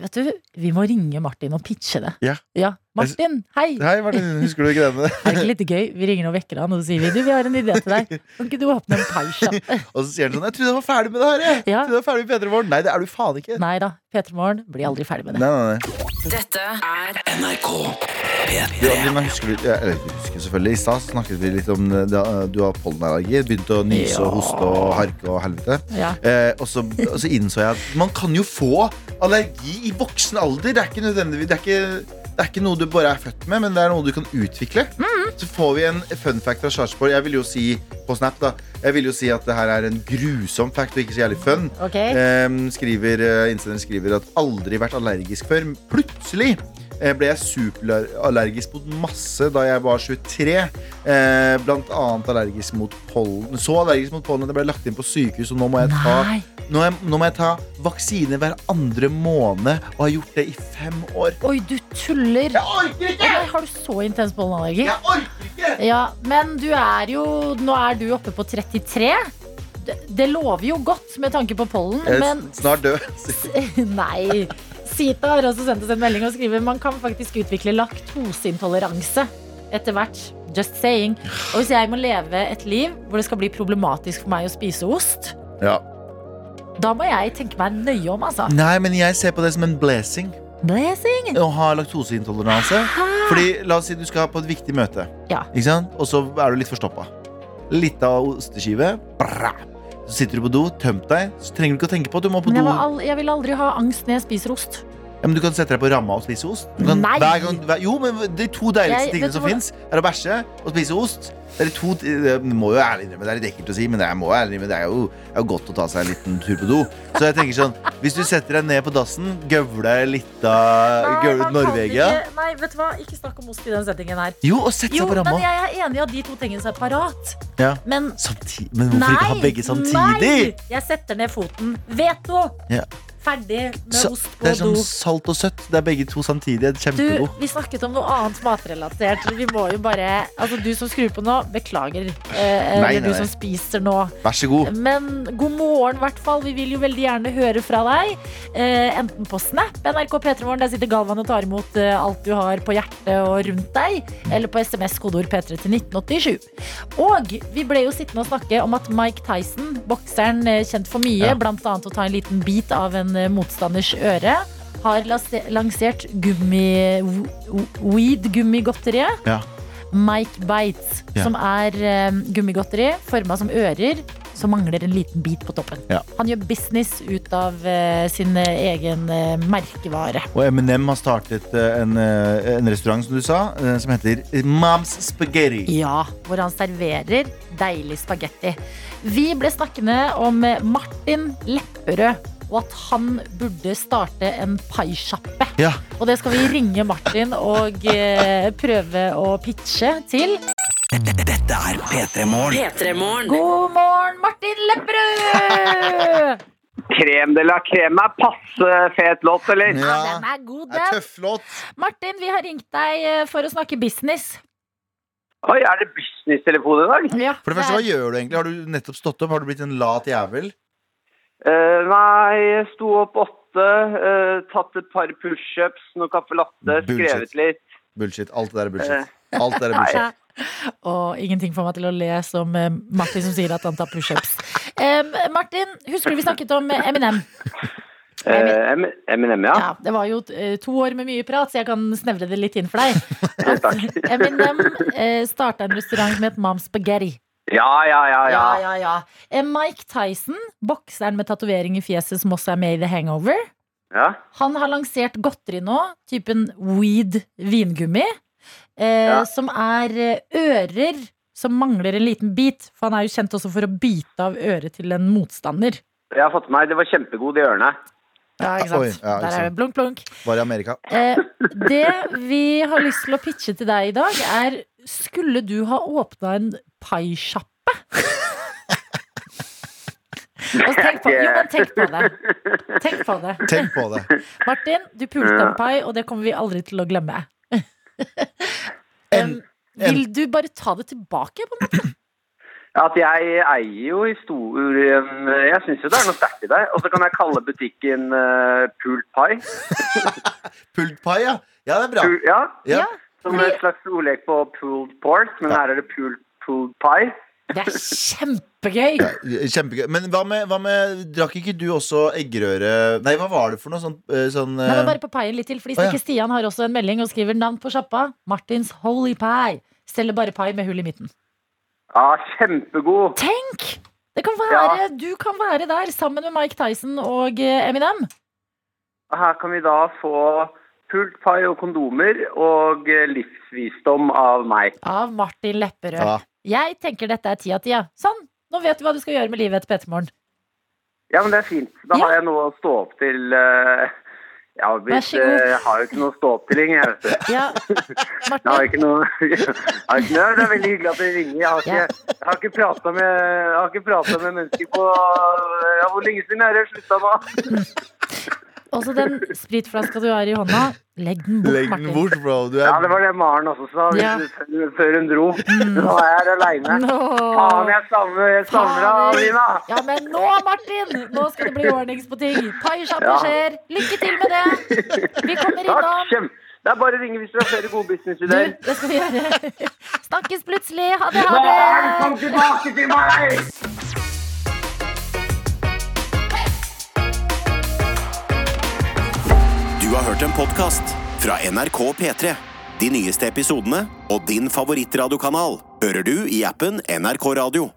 S2: Vet du, vi må ringe Martin og pitche det.
S3: Ja.
S2: Martin, hei!
S3: Hei, Martin, husker du ikke denne?
S2: Er det ikke litt gøy? Vi ringer og vekker han, og så sier vi du, vi har en idé til deg. Kan ikke du åpne en paisja?
S3: Og så sier han sånn Jeg trodde jeg var ferdig med det her. Jeg.
S2: Ja.
S3: Trodde jeg var ferdig med Peter Våren. Nei, det er du faen ikke.
S2: Nei da, P3 Morgen blir aldri ferdig med det.
S3: Nei, nei, nei.
S6: Dette er
S1: NRK
S3: Du,
S1: P3.
S3: Adelina, husker du, ja, eller, du husker selvfølgelig I stad snakket vi litt om det, da eh, du har pollenallergi. Begynte å nyse og hoste og harke og helvete.
S2: Ja.
S3: Eh, og, så, og så innså jeg at man kan jo få allergi i voksen alder. Det er ikke nødvendigvis det er ikke, det er ikke noe du bare er født med, men det er noe du kan utvikle. Så får vi en fun fact fra Sarpsborg. Jeg vil jo si på Snap da Jeg vil jo si at det her er en grusom fact og ikke så jævlig fun.
S2: Ok?
S3: Ehm, skriver, eh, innsenderen skriver at aldri vært allergisk før. men Plutselig eh, ble jeg superallergisk mot masse da jeg var 23. Eh, blant annet allergisk mot pollen. Så allergisk mot pollen at jeg ble lagt inn på sykehus, og nå må jeg ta,
S2: Nei.
S3: nå er- nå må jeg ta vaksine hver andre måned, og har gjort det i fem år.
S2: Oi, du tuller!
S3: Jeg orker ikke!
S2: Nei, har du så intens pollenallergi?
S3: Jeg orker ikke!
S2: Ja, men du er jo Nå er du oppe på 33. Det, det lover jo godt med tanke på pollen,
S3: Jeg er
S2: men
S3: s- snart død.
S2: Nei. Sita har også sendt oss en melding og skriver man kan faktisk utvikle laktoseintoleranse etter hvert. Just saying. Og hvis jeg må leve et liv hvor det skal bli problematisk for meg å spise ost,
S3: Ja.
S2: da må jeg tenke meg nøye om, altså.
S3: Nei, men jeg ser på det som en blessing
S2: Blessing!
S3: å ha laktoseintoleranse. Fordi la oss si du skal på et viktig møte
S2: Ja.
S3: Ikke sant? Og så er du litt forstoppa Litt av osteskive bra. Så sitter du på do, tømt deg Så trenger du ikke å tenke på at du må på
S2: Men
S3: do
S2: jeg, var al jeg vil aldri ha angst når jeg spiser ost.
S3: Ja, men du kan sette deg på ramma og spise ost. Du kan,
S2: Nei!
S3: hver gang, hver, jo, men De to deiligste
S2: Jeg- vet du
S3: tingene som
S2: hva-
S3: fins, er å bæsje og spise ost. Det er de to Det må jo ærlig innrømme, det er litt ekkelt å si, men det er, må jeg ærlig innrømme, det er jo, det er jo godt å ta seg en liten tur på do. Så jeg tenker sånn, hvis du setter deg ned på dassen, gøvler deg litt av
S2: Nei,
S3: gøvler
S2: man kan
S3: Norvegia
S2: ikke- Nei, vet du hva? Ikke snakk om ost i den settingen her.
S3: Jo, og sett
S2: Jo,
S3: seg på
S2: men
S3: ramma.
S2: jeg er enig i at de to tingene er separat.
S3: Ja.
S2: Men
S3: Samti- Men hvorfor ikke ha begge samtidig?
S2: Nei! Jeg setter ned foten. Veto!
S3: Ja.
S2: Ferdig med
S3: Så,
S2: ost på
S3: det er sånn
S2: do.
S3: salt og søtt. Det er begge to samtidig. Det er
S2: Du,
S3: Kjempegod.
S2: vi snakket om noe annet matrelatert. Vi må jo bare Altså, du som skrur på nå, beklager. Eh,
S3: Nei, nei,
S2: eller du
S3: nei.
S2: som spiser nå.
S3: Vær så god.
S2: Men god morgen, i hvert fall. Vi vil jo veldig gjerne høre fra deg. Eh, enten på Snap, NRK P3morgen, der sitter Galvan og tar imot eh, alt du har på hjertet og rundt deg. Eller på SMS, kodeord P3 til 1987. Og vi ble jo sittende og snakke om at Mike Tyson, bokseren eh, kjent for mye,
S11: Ja.
S2: blant annet å ta en liten bit av en eh, motstanders øre, har lase- lansert gummi... w- weed-gummigodteriet.
S3: Ja.
S2: Mike Bites,
S3: Ja.
S2: som er eh, gummigodteri forma som ører, som mangler en liten bit på toppen.
S3: Ja.
S2: Han gjør business ut av eh, sin eh, egen eh, merkevare.
S3: Og M&M har startet eh, en, eh, en restaurant som du sa, eh, som heter Moms Spaghetti.
S2: Ja, hvor han serverer deilig spagetti. Vi ble snakkende om eh, Martin Lepperød, og at han burde starte en paisjappe.
S3: Ja.
S2: Og det skal vi ringe Martin og eh, prøve å pitche til.
S12: Dette er P3 Morgen.
S2: God morgen, Martin Lepperød!
S7: Krem de la creme er passe fet låt, eller?
S2: Ja, den er god, den. Martin, vi har ringt deg eh, for å snakke business.
S7: Oi, er det business-telefon i dag?
S2: Ja,
S3: For det første, Hva gjør du egentlig? Har du nettopp stått opp? Har du blitt en lat jævel?
S7: Eh, nei, jeg sto opp åtte, eh, tatt et par pushups, noe caffè latte,
S3: Bullshit.
S7: skrevet litt.
S3: Bullshit. Alt det der er
S7: Eh,
S3: bullshit. Alt det der er bullshit.
S2: Og ingenting får meg til å le som eh, Martin som sier at han tar pushups. Um, Martin, husker du vi snakket om Eminem?
S7: eh, M- Eminem, ja.
S2: Ja, det var jo eh, to år med mye prat, så jeg kan snevre det litt inn for deg.
S7: Eh, Takk.
S2: Eminem uh, starta en restaurant som het Mom's Spaghetti.
S7: Ja, ja, ja, ja.
S2: Ja, ja, ja. Eh, Mike Tyson, bokseren med tatovering i fjeset som også er med i The Hangover,
S7: ja.
S2: han har lansert godteri nå, typen weed vingummi, eh,
S7: Ja.
S2: som er eh, ører som mangler en liten bit. For han er jo kjent også for å bite av øret til en motstander.
S7: Jeg har fått med meg, det var kjempegod i ørene.
S2: Ja, ikke sant?
S3: Oi, ja, ikke
S2: Der er det
S3: sant.
S2: blunk, blunk.
S3: Var i Amerika.
S2: Eh, det vi har lyst til å pitche til deg i dag, er Skulle du ha åpna en paisjappe? Altså, tenk, på- jo, men tenk på det. Tenk på det.
S3: Tenk på det.
S2: Martin, du pulte en pai, og det kommer vi aldri til å glemme. Um, vil du bare ta det tilbake? På en måte?
S7: At jeg eier jo historien eh, Jeg syns jo det er noe sterkt i det. Og så kan jeg kalle butikken uh, Pult Pie.
S3: Pult pie, ja. Ja, det er bra.
S7: Pul, ja.
S3: Ja.
S7: Som et slags ordlek på pooled pork, men her er det pooled, pooled pie.
S2: Det er kjempegøy.
S3: Kjempegøy. Men hva med, hva med Drakk ikke du også eggerøre Nei, hva var det for noe sånn, eh, sånn
S2: Nei, men
S3: eh,
S2: bare på paien litt til, fordi
S3: Å, ja.
S2: Snekker Stian har også en melding og skriver navn på sjappa. Martins Holy Pie. Selger bare pai med hull i midten.
S7: Ja, kjempegod.
S2: Tenk! Det kan være, Du kan være der sammen med Mike Tyson og eh, Eminem.
S7: Og Her kan vi da få pooled pie og kondomer og eh, livsvisdom av meg.
S2: Av Martin Lepperød.
S7: Ja.
S2: Jeg tenker dette er ti av ti. ja. Sånn! Nå vet du hva du skal gjøre med livet etter P3morgen.
S7: Ja, men det er fint. Da har jeg noe å stå opp til. eh, Jeg har, blitt,
S2: Vær så god.
S7: eh, jeg har jo ikke noe stå-opp-stilling, jeg, vet du.
S2: Ja,
S7: Jeg har ikke noe jeg har ikke noe- Det er veldig hyggelig at dere ringer. Jeg har ikke, jeg har ikke prata med, jeg har ikke pratet med mennesker på ja, Hvor lenge siden er det slutta nå?
S2: Også den spritflaska du har i hånda, legg den bort,
S7: Legg den
S2: Martin.
S3: bort, bro. Du er
S7: Ja, det var det Maren også sa
S2: Ja. Mm.
S7: før- før hun dro. Nå er jeg her aleine.
S2: Nå.
S7: Faen, jeg savner jeg savner deg, Adelina.
S2: Ja, men nå, Martin! Nå skal det bli ordnings på ting. Paisjappe
S7: Ja.
S2: skjer. Lykke til med det! Vi kommer innom.
S7: Takk. kjem- Det er bare å ringe hvis dere har flere gode businessideer.
S2: Det skal vi gjøre. Snakkes plutselig. Ha det,
S7: Nå er
S2: ha
S7: det kom tilbake til meg!
S1: Du har hørt en podcast fra NRK P3. De nyeste episodene og din favorittradiokanal hører du i appen NRK Radio.